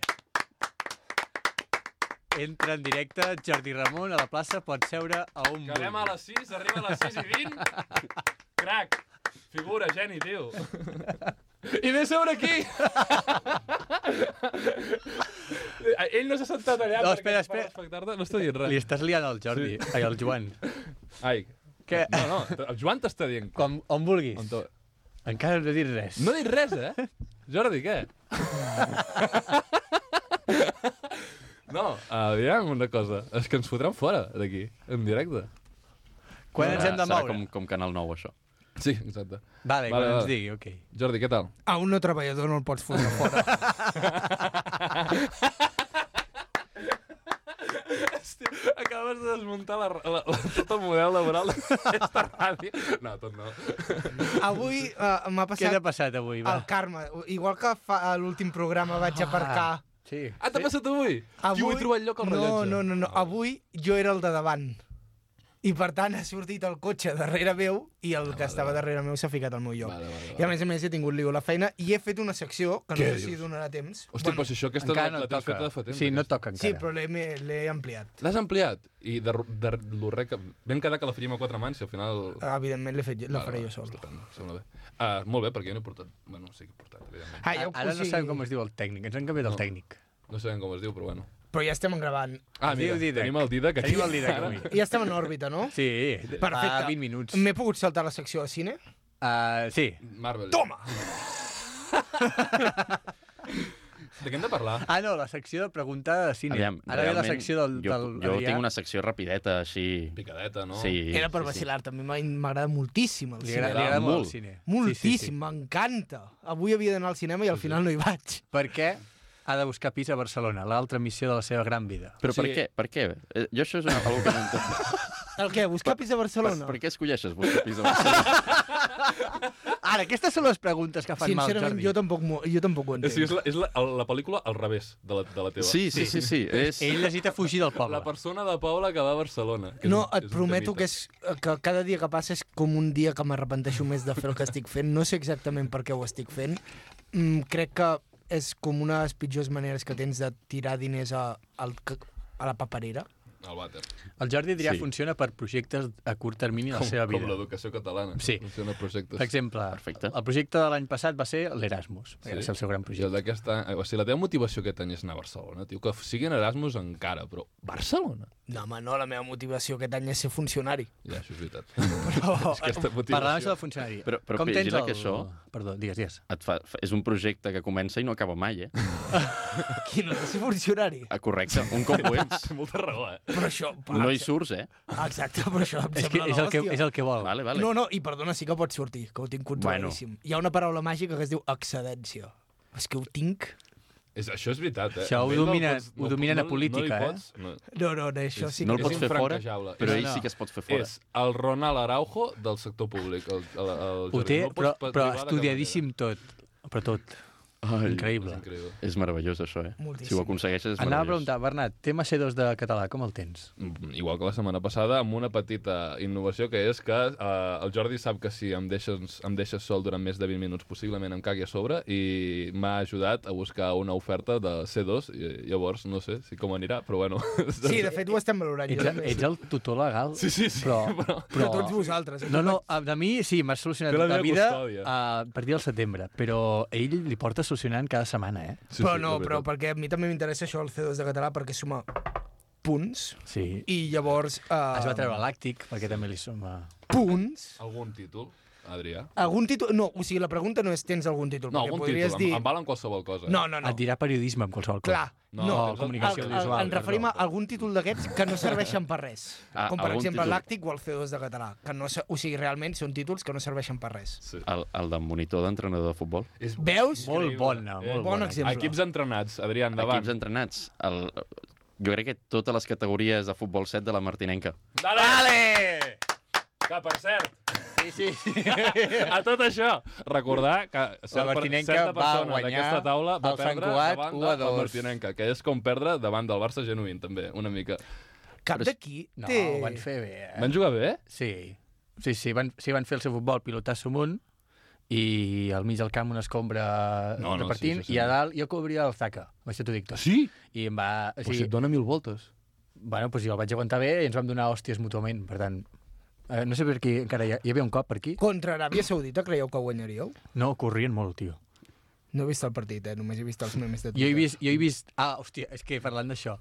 S1: Entra en directe Jordi Ramon a la plaça, pot seure a un
S2: acabem a
S1: bull.
S2: les 6, arriba a les 6 i 20. Crac, figura, geni, tio. I ve a seure aquí. Eh, Ell no s'ha sentat allà
S1: No, espera,
S2: perquè per
S1: espera.
S2: respectar-te. No està dient res.
S1: Li estàs liant al Jordi, sí. ai, al Joan.
S2: Ai,
S1: Que,
S2: no, no, el Joan t'està dient.
S1: com, on vulguis.
S2: On to-
S1: Encara no he dit res.
S2: No he dit res, eh? Jordi, què? No, aviam una cosa. És que ens fotran fora d'aquí, en directe.
S1: Quan ens hem de
S3: serà
S1: moure?
S3: com, com Canal 9, això.
S2: Sí, exacte.
S1: Vale,
S2: Vale,
S1: quan
S2: vale.
S1: ens digui, ok.
S2: Jordi, què tal?
S5: A un no treballador no el pots fotre fora.
S2: Hòstia, acabes de desmuntar la, la, la, tot el model laboral d'aquesta ràdio. No, tot no.
S5: Avui uh, m'ha
S1: Què
S5: passat
S1: t'ha passat avui, va?
S5: el karma. Igual que fa, a l'últim programa vaig aparcar.
S1: Sí.
S2: Ah, t'ha passat avui? Tio, he trobat lloc al
S5: no,
S2: rellotge.
S5: No, no, no. Avui jo era el de davant. I per tant ha sortit el cotxe darrere meu i el que estava darrere meu s'ha ficat al meu lloc.
S2: Vale, vale,
S5: I a
S2: vale.
S5: més a més he tingut lío a la feina i he fet una secció que no
S2: Què
S5: sé si
S2: dius?
S5: donarà temps.
S2: Hòstia, però si això aquesta
S1: Encara
S2: la,
S1: no
S2: la tens
S1: toca.
S2: feta de fa temps.
S1: Sí, no
S2: aquesta.
S1: toca encara.
S5: sí, però l'he me- l'he ampliat.
S2: L'has ampliat i de, de, de lo re que... Vam quedar que la faríem a quatre mans i al final...
S5: Evidentment l'he fet, jo- la
S2: Vale,
S5: faré
S2: vale,
S5: jo sol.
S2: Estupendo, sembla bé. Uh, molt bé, perquè jo no he portat... Bueno, sí que he portat, evidentment.
S5: Ah, ja ho
S1: Ara no
S5: posi-
S1: sabem com es diu el tècnic, ens han canviat el tècnic.
S2: No sabem com es diu, però bueno.
S5: Però ja estem gravant.
S2: Ah,
S1: Es diu
S2: mira,
S1: Didac.
S2: tenim el Didac aquí.
S1: Tenim el Didac
S2: ara.
S1: avui.
S5: Ja estem en òrbita, no?
S1: Sí,
S5: Perfecte.
S1: fa 20 minuts.
S5: M'he pogut saltar la secció de cine?
S2: Ah,
S1: Uh, sí.
S2: Marvel. Toma! de què hem de parlar?
S1: Ah, no, la secció de preguntar de cine.
S3: Aviam,
S1: Ara ve la
S3: realment,
S1: secció del...
S3: Jo,
S1: del
S3: jo
S1: Adrià.
S3: tinc una secció rapideta, així...
S2: Picadeta, no?
S3: Sí,
S5: Era per
S3: sí, sí.
S5: vacilar-te, a mi m'ha- m'agrada moltíssim el
S1: Li
S5: cine.
S1: agrada, li
S3: M'agrada
S1: agrada molt el
S3: molt.
S1: cine.
S5: Moltíssim, m'encanta. Avui havia d'anar al cinema i al final no hi vaig.
S1: Perquè ha de buscar pis a Barcelona, l'altra missió de la seva gran vida.
S3: Però per
S2: Sí.
S3: què? Per què? Eh, Jo això és una cosa que no entenc.
S5: El què? Buscar pis a
S3: Per,
S5: Barcelona?
S3: per què escolleixes buscar pis a Barcelona?
S1: Ara, aquestes són les preguntes que fan mal,
S5: Sincerament,
S1: Jordi.
S5: jo tampoc, m'ho- jo tampoc ho
S2: O sigui, Eh, és
S5: entenc.
S2: la, és la, el- la pel·lícula al revés de la, de la teva.
S3: Sí, sí, sí, sí. És...
S1: Ell necessita fugir del poble.
S2: La persona de Paula que va a Barcelona. Que
S5: No,
S2: és un-
S5: et
S2: és un
S5: prometo
S2: temita.
S5: que, és, que cada dia que passa és com un dia que m'arrepenteixo més de fer el que estic fent. No sé exactament per què ho estic fent. Mm, crec que és com una de les pitjors maneres que tens de tirar diners a, al, ca- a la paperera.
S2: El vàter.
S1: El Jordi Adrià
S3: Sí.
S1: funciona per projectes a curt termini de la
S2: Com,
S1: seva
S2: com
S1: vida.
S2: l'educació catalana.
S1: Sí.
S2: Funciona projectes.
S1: Per exemple,
S3: Perfecte.
S1: el projecte de l'any passat va ser l'Erasmus.
S2: Sí.
S1: Sí. Va ser el seu gran
S2: I el
S1: projecte.
S2: d'aquest any... O sigui, la teva motivació aquest any és anar a Barcelona, tio. Que sigui en Erasmus encara, però Barcelona?
S5: No, home, no, la meva motivació aquest any és ser funcionari.
S2: Ja, això és veritat. Però... és aquesta motivació...
S1: Parlant això del funcionari,
S3: Però- però
S1: com tens
S3: vigila
S1: el...
S3: que això-
S1: Perdó, digues, digues.
S3: Et fa, fa- és un projecte que comença i no acaba mai, eh?
S5: Qui no és ser funcionari?
S3: Ah, correcte, un cop ho ets,
S2: Té molta raó, eh?
S5: Però això...
S3: no hi surts, eh?
S5: Exacte, però això em
S1: És, que
S5: sembla
S1: és, el que,
S5: l'hòstia.
S1: és el que vol.
S3: Vale, vale.
S5: No, no, i perdona, sí que pot sortir, que ho tinc controladíssim. Bueno. Hi ha una paraula màgica que es diu excedència. És que ho tinc...
S2: És, això és veritat, eh?
S1: Això ho
S2: Ell no el
S1: domina-
S2: pots-
S1: ho dominen a
S2: no,
S1: política,
S2: no
S1: eh?
S2: li Pots, no.
S5: No, no, no això sí
S3: No
S5: que...
S3: el
S2: És
S3: pots fer fora,
S2: infranquejable.
S3: però
S2: És-
S3: ell
S1: no.
S3: sí que es pot fer fora.
S2: És el Ronald Araujo del sector públic. El, el, el
S1: Ho
S2: Jordi.
S1: té,
S2: doncs No el pots
S1: però,
S2: pa-
S1: però
S2: privar de cap
S1: estudiadíssim tot. Però tot.
S3: Ai,
S2: manera. És
S1: Increïble.
S2: increïble.
S3: És meravellós, això, eh?
S5: Moltíssim.
S3: Si ho aconsegueixes, és
S1: Anava a
S3: meravellós.
S1: preguntar, Bernat, tema C2 de català, com el tens?
S2: Mm, Igual que la setmana passada, amb una petita innovació que és que eh, el Jordi sap que si em deixes, em deixes sol durant més de 20 minuts possiblement em cagui a sobre i m'ha ajudat a buscar una oferta de C2 i llavors no sé si com anirà, però bueno.
S5: Sí, de fet ho estem valorant.
S1: Ets,
S5: Jo.
S1: ets el tutor legal?
S2: Sí, sí, sí,
S1: Però,
S2: però-
S5: Però...
S1: però...
S5: Tots vosaltres. eh?
S1: No, no, a- de mi sí, m'ha solucionat tota
S2: Té la
S1: la,
S2: meva
S1: vida
S2: custòdia.
S1: a partir del setembre, però ell li porta solucionant cada setmana, eh?
S2: Sí,
S5: Però
S2: sí,
S5: no,
S2: la
S5: però
S2: veritat.
S5: perquè a mi també m'interessa això el C2 de català perquè suma punts
S1: Sí.
S5: i llavors... Uh,
S1: Es va treure l'àctic, perquè també li suma...
S5: Punts.
S2: Algun títol, Adrià?
S5: Algun títol... No, o sigui, la pregunta no és tens algun títol,
S2: No,
S5: perquè
S2: algun
S5: podries
S2: títol,
S5: dir...
S2: em, em valen qualsevol cosa.
S5: No, no, no.
S1: Et dirà periodisme amb qualsevol cosa.
S5: Clar,
S2: No,
S5: no.
S2: tens el-
S1: comunicació
S5: El- el-
S1: audiovisual.
S5: Ens referim a algun títol d'aquests que no serveixen per res.
S3: Ah,
S5: com, per
S3: algun
S5: exemple,
S3: títol.
S5: l'Àctic o el C2 de català. Que no, se- o sigui, realment són títols que no serveixen per res.
S2: Sí.
S3: El, el de monitor d'entrenador de futbol.
S2: És
S5: Veus?
S1: Molt bona,
S2: Eh,
S1: molt
S5: Bon
S1: bona.
S5: exemple.
S2: Equips entrenats, Adrià, endavant.
S3: Equips entrenats. El, jo crec que totes les categories de futbol 7 de la Martinenca.
S2: Dale! Dale! Que, per cert,
S1: Sí, sí.
S2: a tot això, recordar que
S1: La
S2: cert-
S1: Martinenca
S2: certa
S1: va
S2: persona
S1: guanyar
S2: d'aquesta taula va
S1: el Sant
S2: perdre
S1: Cugat
S2: davant
S1: 1 a
S2: de la
S1: 2.
S2: Martinenca, que és com perdre davant del Barça genuïn, també, una mica.
S5: Cap
S3: Però és-
S5: d'aquí
S1: No,
S5: té...
S1: ho van fer bé, eh?
S2: Van jugar bé?
S1: Sí. Sí, sí, van, sí, van fer el seu futbol pilotasso amunt i al mig del camp una escombra
S2: No, no, sí,
S1: repartint
S2: sí, sí.
S1: i a dalt jo cobria el Zaka, amb això t'ho dic tot.
S2: Sí?
S1: I em va... O
S2: Però si
S1: sigui,
S2: et dona mil voltes.
S1: Bueno, doncs jo el vaig aguantar bé i ens vam donar hòsties mútuament, per tant... Eh, no sé per aquí encara hi, ha, hi havia un cop per aquí.
S5: Contra Aràbia Saudita creieu que guanyaríeu?
S1: No, corrien molt, tio.
S5: No he vist el partit, eh? Només he vist els memes de Twitter.
S1: Jo he vist... Jo he vist ah, hòstia, és que parlant d'això,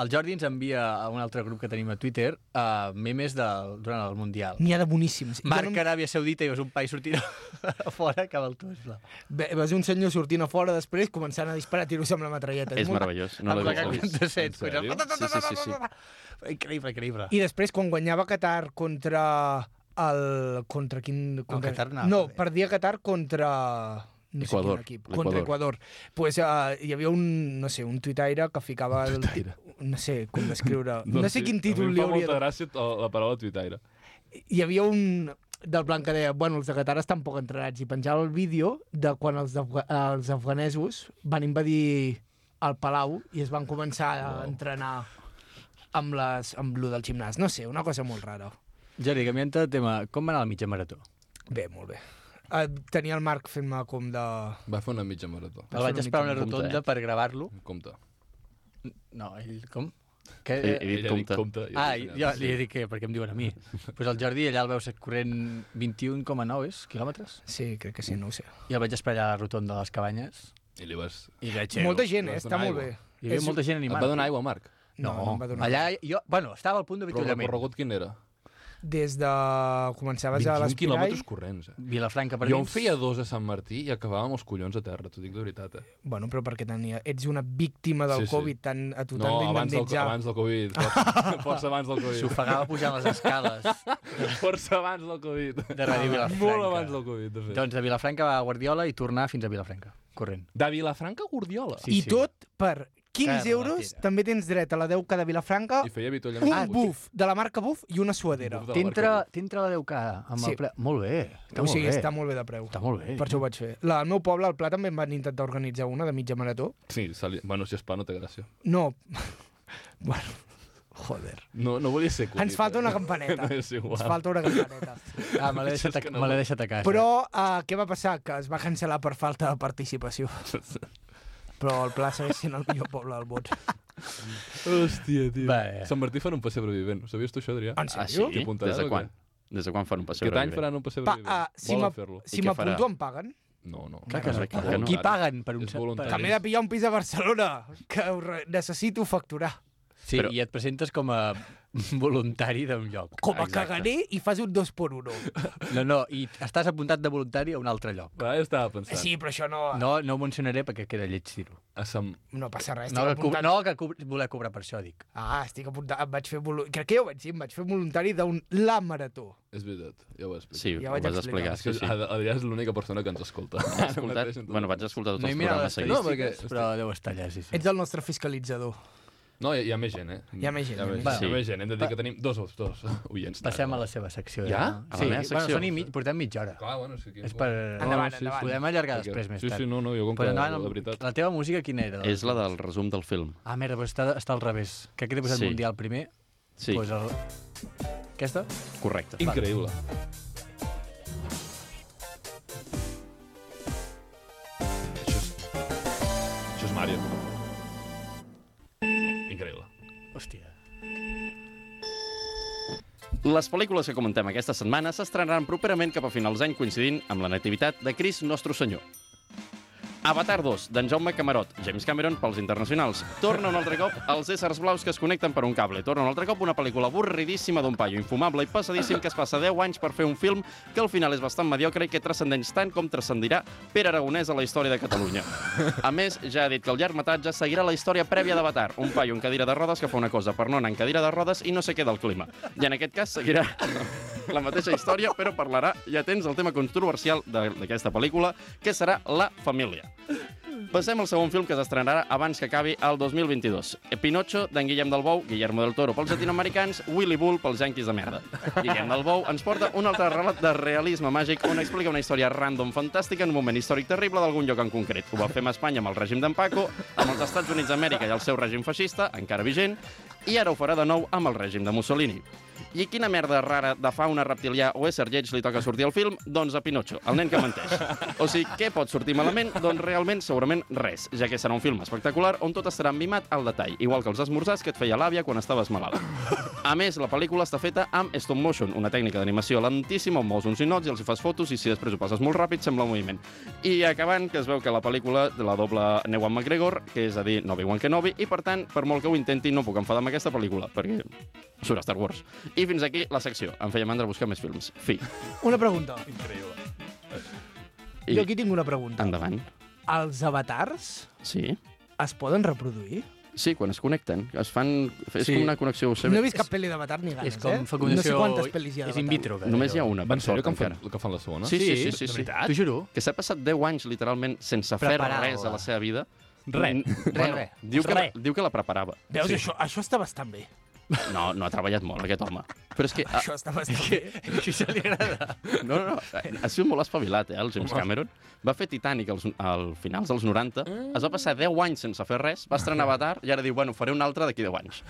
S1: el Jordi ens envia a un altre grup que tenim a Twitter uh, memes del, durant el Mundial.
S5: N'hi ha de boníssims. Jo
S1: Marca Aràbia Saudita i veus un país sortint a fora cap al Tesla.
S5: No... Ve- Vas un senyor sortint a fora després començant a disparar tiros amb la metralleta.
S3: És
S5: molt-
S3: meravellós, no
S1: amb la
S3: l'he
S1: que
S3: vist.
S1: canta set.
S2: En sèrio?
S3: Sí, sí, sí, sí.
S1: Increïble, increïble.
S5: I després, quan guanyava Qatar contra el... Contra quin... Contra...
S1: Qatar anava
S5: no
S1: bé.
S5: perdia Qatar contra... No sé
S3: Equador,
S5: quin equip.
S3: l'Equador.
S5: Contra Equador. Pues, uh, hi havia un, no sé, un tuitaire que ficava... El ti-
S2: tuitaire.
S5: no sé com descriure... no, sé quin títol li
S2: A mi em
S5: hauria
S2: fa molta
S5: de...
S2: gràcia el- la paraula tuitaire.
S5: Hi havia un del blanc que deia, bueno, els de Qatar estan poc entrenats, i penjava el vídeo de quan els, afga els afganesos van invadir el Palau i es van començar a entrenar amb, les, amb lo del gimnàs. No sé, una cosa molt rara.
S1: Jordi, canviant de tema, com va anar la mitja marató?
S5: Bé, molt bé. Eh, tenia el Marc fent-me com de...
S2: Va fer una mitja marató.
S1: El vaig
S5: una
S1: esperar a una
S3: mica en compte,
S1: rotonda per gravar-lo.
S2: Em Compte.
S1: No, ell... Com? Que, eh,
S3: He, he
S2: Ella
S3: dit
S2: ha dit
S3: compte.
S2: compte. i
S1: Ah,
S2: ha dit
S1: jo
S2: senyal.
S1: li he dit que, perquè em diuen a mi. pues el Jordi allà el veus corrent 21,9 és, quilòmetres.
S5: Sí, crec que sí, no ho sé.
S1: I el vaig esperar allà a la rotonda de les cabanyes.
S2: I li vas...
S1: I vaig
S5: Xero, Molta gent,
S2: li
S5: eh?
S2: vas
S5: Està
S2: donar
S5: molt
S2: aigua.
S5: bé.
S1: Hi havia
S5: És-
S1: molta gent
S2: Et
S1: animant.
S2: va donar aigua, Marc?
S1: No,
S5: no, em va donar
S1: allà jo... Bueno, estava al punt de
S2: Però el
S1: avituallament.
S2: recorregut quin era?
S5: Des de... Començaves a
S2: 21
S5: l'espirai...
S2: quilòmetres corrents, eh?
S1: Vilafranca per
S2: Jo en
S1: dins.
S2: feia dos a Sant Martí i acabàvem els collons a terra, t'ho dic de veritat, eh?
S5: Bueno, però perquè tenia... ets una víctima del
S2: Sí,
S5: sí,
S2: sí.
S5: sí. Covid, tant a tu
S2: No,
S5: t'han
S2: abans del,
S5: d'indemnitzar.
S2: abans del Covid. Força, força abans del Covid.
S1: S'ofegava pujant les escales
S2: Força abans del Covid.
S1: de Ràdio Vilafranca.
S2: Molt abans del Covid, de fet.
S1: Doncs de Vilafranca va a Guardiola i tornar fins a Vilafranca, corrent.
S2: De Vilafranca a Gordiola.
S1: Sí,
S5: I
S1: sí.
S5: tot per 15
S1: Carla,
S5: euros
S1: tira.
S5: també tens dret a la 10K de Vilafranca,
S2: I feia vitolla
S5: un buf de la marca Buf i una suadera.
S2: Buf de-
S1: T'entra t'entra la 10K amb
S5: Sí.
S1: el ple... Molt bé. Està
S5: O
S1: molt
S5: sigui,
S1: bé.
S5: està molt bé de preu.
S1: Està molt bé.
S5: Per això ho vaig fer. La, al meu poble, al Pla, també en van intentar organitzar una de mitja marató.
S2: Sí, se li... bueno, si es pa, no té gràcia.
S5: No. bueno, joder.
S2: No, no volia ser culit.
S5: Ens falta una
S2: eh?
S5: campaneta.
S2: No és igual.
S5: Ens falta una campaneta.
S1: Ah, me l'he deixat,
S2: És
S1: a-
S2: que no
S1: me l'he
S2: vol-
S1: deixat a casa.
S5: Però uh, què va passar? Que es va cancel·lar per falta de participació. Però el Pla segueix sent el millor poble del món.
S2: Hòstia, tio.
S1: Va. eh.
S2: Sant Martí fan un passe previvent. Ho sabies tu, això, Adrià?
S5: En
S3: Ah,
S5: sèrio?
S3: sí?
S2: T'hi apuntaràs
S3: Des de
S2: o
S3: quan?
S2: què?
S3: Des de quan fan un passeig?
S2: Aquest any
S3: breu?
S2: faran un passe
S5: Pa,
S2: previvent.
S5: ah, si
S2: Volen
S5: m'ap-
S2: fer-lo.
S5: si
S3: I què farà?
S5: m'apunto em paguen?
S2: No, no.
S1: Ah, Clar que no.
S3: Clar que no.
S1: Qui paguen per un...
S2: És voluntari.
S5: Que m'he de pillar un pis a Barcelona, que ho re- necessito facturar.
S1: Sí,
S3: Però-
S1: i et presentes com a voluntari d'un lloc.
S5: Com a
S3: Exacte.
S5: caganer i fas un dos por uno.
S1: No, no, i estàs apuntat de voluntari a un altre lloc.
S2: Va, jo estava pensant.
S5: Sí, però això no,
S1: No,
S5: no,
S1: no ho mencionaré perquè queda lleig dir-ho.
S2: A Sant...
S5: passa res.
S1: No,
S5: estic
S1: que, co-
S5: apuntat...
S1: no, que co- voler cobrar per això, dic.
S5: Ah, estic apuntat, em vaig fer voluntari, crec que ja ho vaig dir, em vaig fer voluntari d'un La Marató.
S2: És veritat, ja ho he explicat.
S3: Sí,
S5: Ja
S3: ja ho
S5: vaig
S3: vas explicar.
S5: explicar.
S2: És que
S3: Sí, sí.
S2: Ad- Adrià és l'única persona que ens escolta.
S3: He escoltat, bueno, vaig escoltar tots
S1: No he
S3: els
S1: mirat
S3: programes
S1: les
S3: seguits.
S2: No, perquè-
S1: estadístiques, però deu estar allà, sí, sí.
S5: Ets el nostre fiscalitzador.
S2: No, hi, hi ha més gent, eh?
S5: Hi ha més gent,
S2: Hi ha més,
S1: Va.
S2: gent. Hi ha
S3: Sí.
S2: més gent. Hem de dir que tenim dos, dos oients.
S1: Passem a la seva secció. De...
S2: Ja?
S3: A la
S1: Sí,
S3: meva
S1: Bueno,
S3: secció?
S1: són i mig, portem mitja hora.
S2: Clar, bueno, és que aquí...
S1: És per...
S5: Endavant,
S2: sí,
S5: endavant.
S1: Podem allargar
S2: Perquè-
S1: després, més
S2: sí,
S1: tard.
S2: Sí, no, no, jo com que,
S1: Però endavant,
S2: la
S1: amb...
S2: veritat...
S1: la teva música quina era?
S3: És la del resum del film.
S1: Ah, merda, però està, està al revés. Que aquí t'he posat
S3: Sí.
S1: sí. Mundial primer.
S3: Sí,
S1: Pues el... Aquesta?
S3: correcte.
S2: Increïble. Això és... Això és Mario. Increïble.
S1: Hòstia.
S3: Les pel·lícules que comentem aquesta setmana s'estrenaran properament cap a finals d'any coincidint amb la nativitat de Cris Nostre Senyor. Avatar 2, d'en Jaume Camarot, James Cameron pels internacionals. Torna un altre cop els éssers blaus que es connecten per un cable. Torna un altre cop una pel·lícula avorridíssima d'un paio infumable i passadíssim que es passa 10 anys per fer un film que al final és bastant mediocre i que transcendeix tant com transcendirà Pere Aragonès a la història de Catalunya. A més, ja ha dit que el llargmetratge seguirà la història prèvia d'Avatar, un paio en cadira de rodes que fa una cosa per no anar en cadira de rodes i no se queda el clima. I en aquest cas seguirà la mateixa història, però parlarà, ja tens el tema controversial de- d'aquesta pel·lícula, que serà la família. Passem al segon film que s'estrenarà abans que acabi el 2022. Pinocho, d'en Guillem del Bou, Guillermo del Toro pels latinoamericans, Willy Bull pels yanquis de merda. Guillem del Bou ens porta un altre relat de realisme màgic on explica una història random fantàstica en un moment històric terrible d'algun lloc en concret. Ho va fer amb Espanya amb el règim d'en Paco, amb els Estats Units d'Amèrica i el seu règim feixista, encara vigent, i ara ho farà de nou amb el règim de Mussolini. I quina merda rara de fauna reptilià o ésser lleig li toca sortir al film? Doncs a Pinocho, el nen que menteix. O sigui, què pot sortir malament? Doncs realment, segurament res, ja que serà un film espectacular on tot estarà mimat al detall, igual que els esmorzars que et feia l'àvia quan estaves malalt. A més, la pel·lícula està feta amb stop motion, una tècnica d'animació lentíssima on mous uns ninots i els hi fas fotos i si després ho passes molt ràpid sembla un moviment. I acabant, que es veu que la pel·lícula la doble Newan McGregor, que és a dir, no viuen que no vi, i per tant, per molt que ho intenti, no puc enfadar amb aquesta pel·lícula, perquè surt a Star Wars. I fins aquí la secció. Em feia mandra buscar més films. Fi.
S5: Una pregunta.
S3: I
S5: Jo aquí tinc una pregunta.
S3: endavant.
S5: Els avatars
S3: Sí.
S5: es poden reproduir?
S3: Sí, quan es connecten. Es fan...
S1: Sí.
S3: És sí. com una connexió USB.
S5: No he vist cap pel·li d'avatar ni ganes,
S1: És com
S5: eh?
S1: fecundació...
S5: No sé quantes pel·lis hi ha
S1: És in
S5: d'avatar.
S1: vitro. gairebé.
S3: Només hi ha una, per
S2: En sèrio
S3: sort,
S2: que en fan,
S3: encara.
S2: que fan la segona?
S3: Sí, sí, sí,
S1: de
S3: sí. sí,
S1: veritat? T'ho juro.
S3: Que s'ha passat 10 anys, literalment, sense fer
S1: Preparada.
S3: res a la seva vida.
S2: Res.
S3: Mm,
S1: res.
S3: Diu que,
S1: Res.
S3: diu que la preparava.
S5: Veus, això, això està bastant bé.
S3: No, no ha treballat molt, aquest home. Però és que...
S1: Ah.
S3: A,
S5: Això està bastant bé.
S1: Això se li agrada.
S3: no, no, no. Ha sigut molt espavilat, eh, el James Cameron. Va fer Titanic als, al finals dels 90.
S1: Ah.
S3: Es va passar 10 anys sense fer res. Va estrenar
S5: Ah.
S3: Avatar i ara diu, bueno, faré un altre d'aquí 10 anys.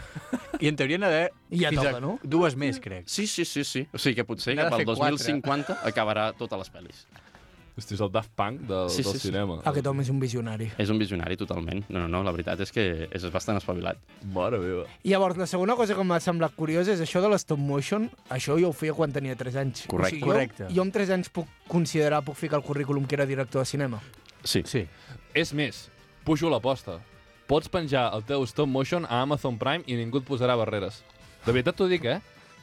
S1: I en teoria n'ha d'haver
S5: I ja
S1: fins
S5: toca,
S1: a
S5: no?
S1: dues més, crec.
S3: Sí, sí, sí, sí. O sigui que potser
S1: N'ha de
S3: cap
S1: fer
S3: al
S1: quatre.
S3: 2050 acabarà tota totes les pel·lis.
S2: Hosti, és el Daft Punk del, sí, sí,
S3: Sí,
S2: del
S3: sí, sí.
S2: cinema.
S5: Aquest home és un visionari.
S3: És un visionari totalment. No, no, no, la veritat és que és bastant espavilat.
S2: Mare meva.
S5: I llavors, la segona cosa que m'ha semblat curiosa és això de l'stop motion. Això jo ho feia quan tenia 3 anys.
S3: Correcte.
S5: O sigui,
S1: Correcte.
S5: Jo, jo amb 3 anys puc considerar, puc ficar al currículum que era director de cinema.
S3: Sí.
S1: Sí.
S2: És més, pujo l'aposta. Pots penjar el teu stop motion a Amazon Prime i ningú et posarà barreres. De veritat t'ho dic, eh?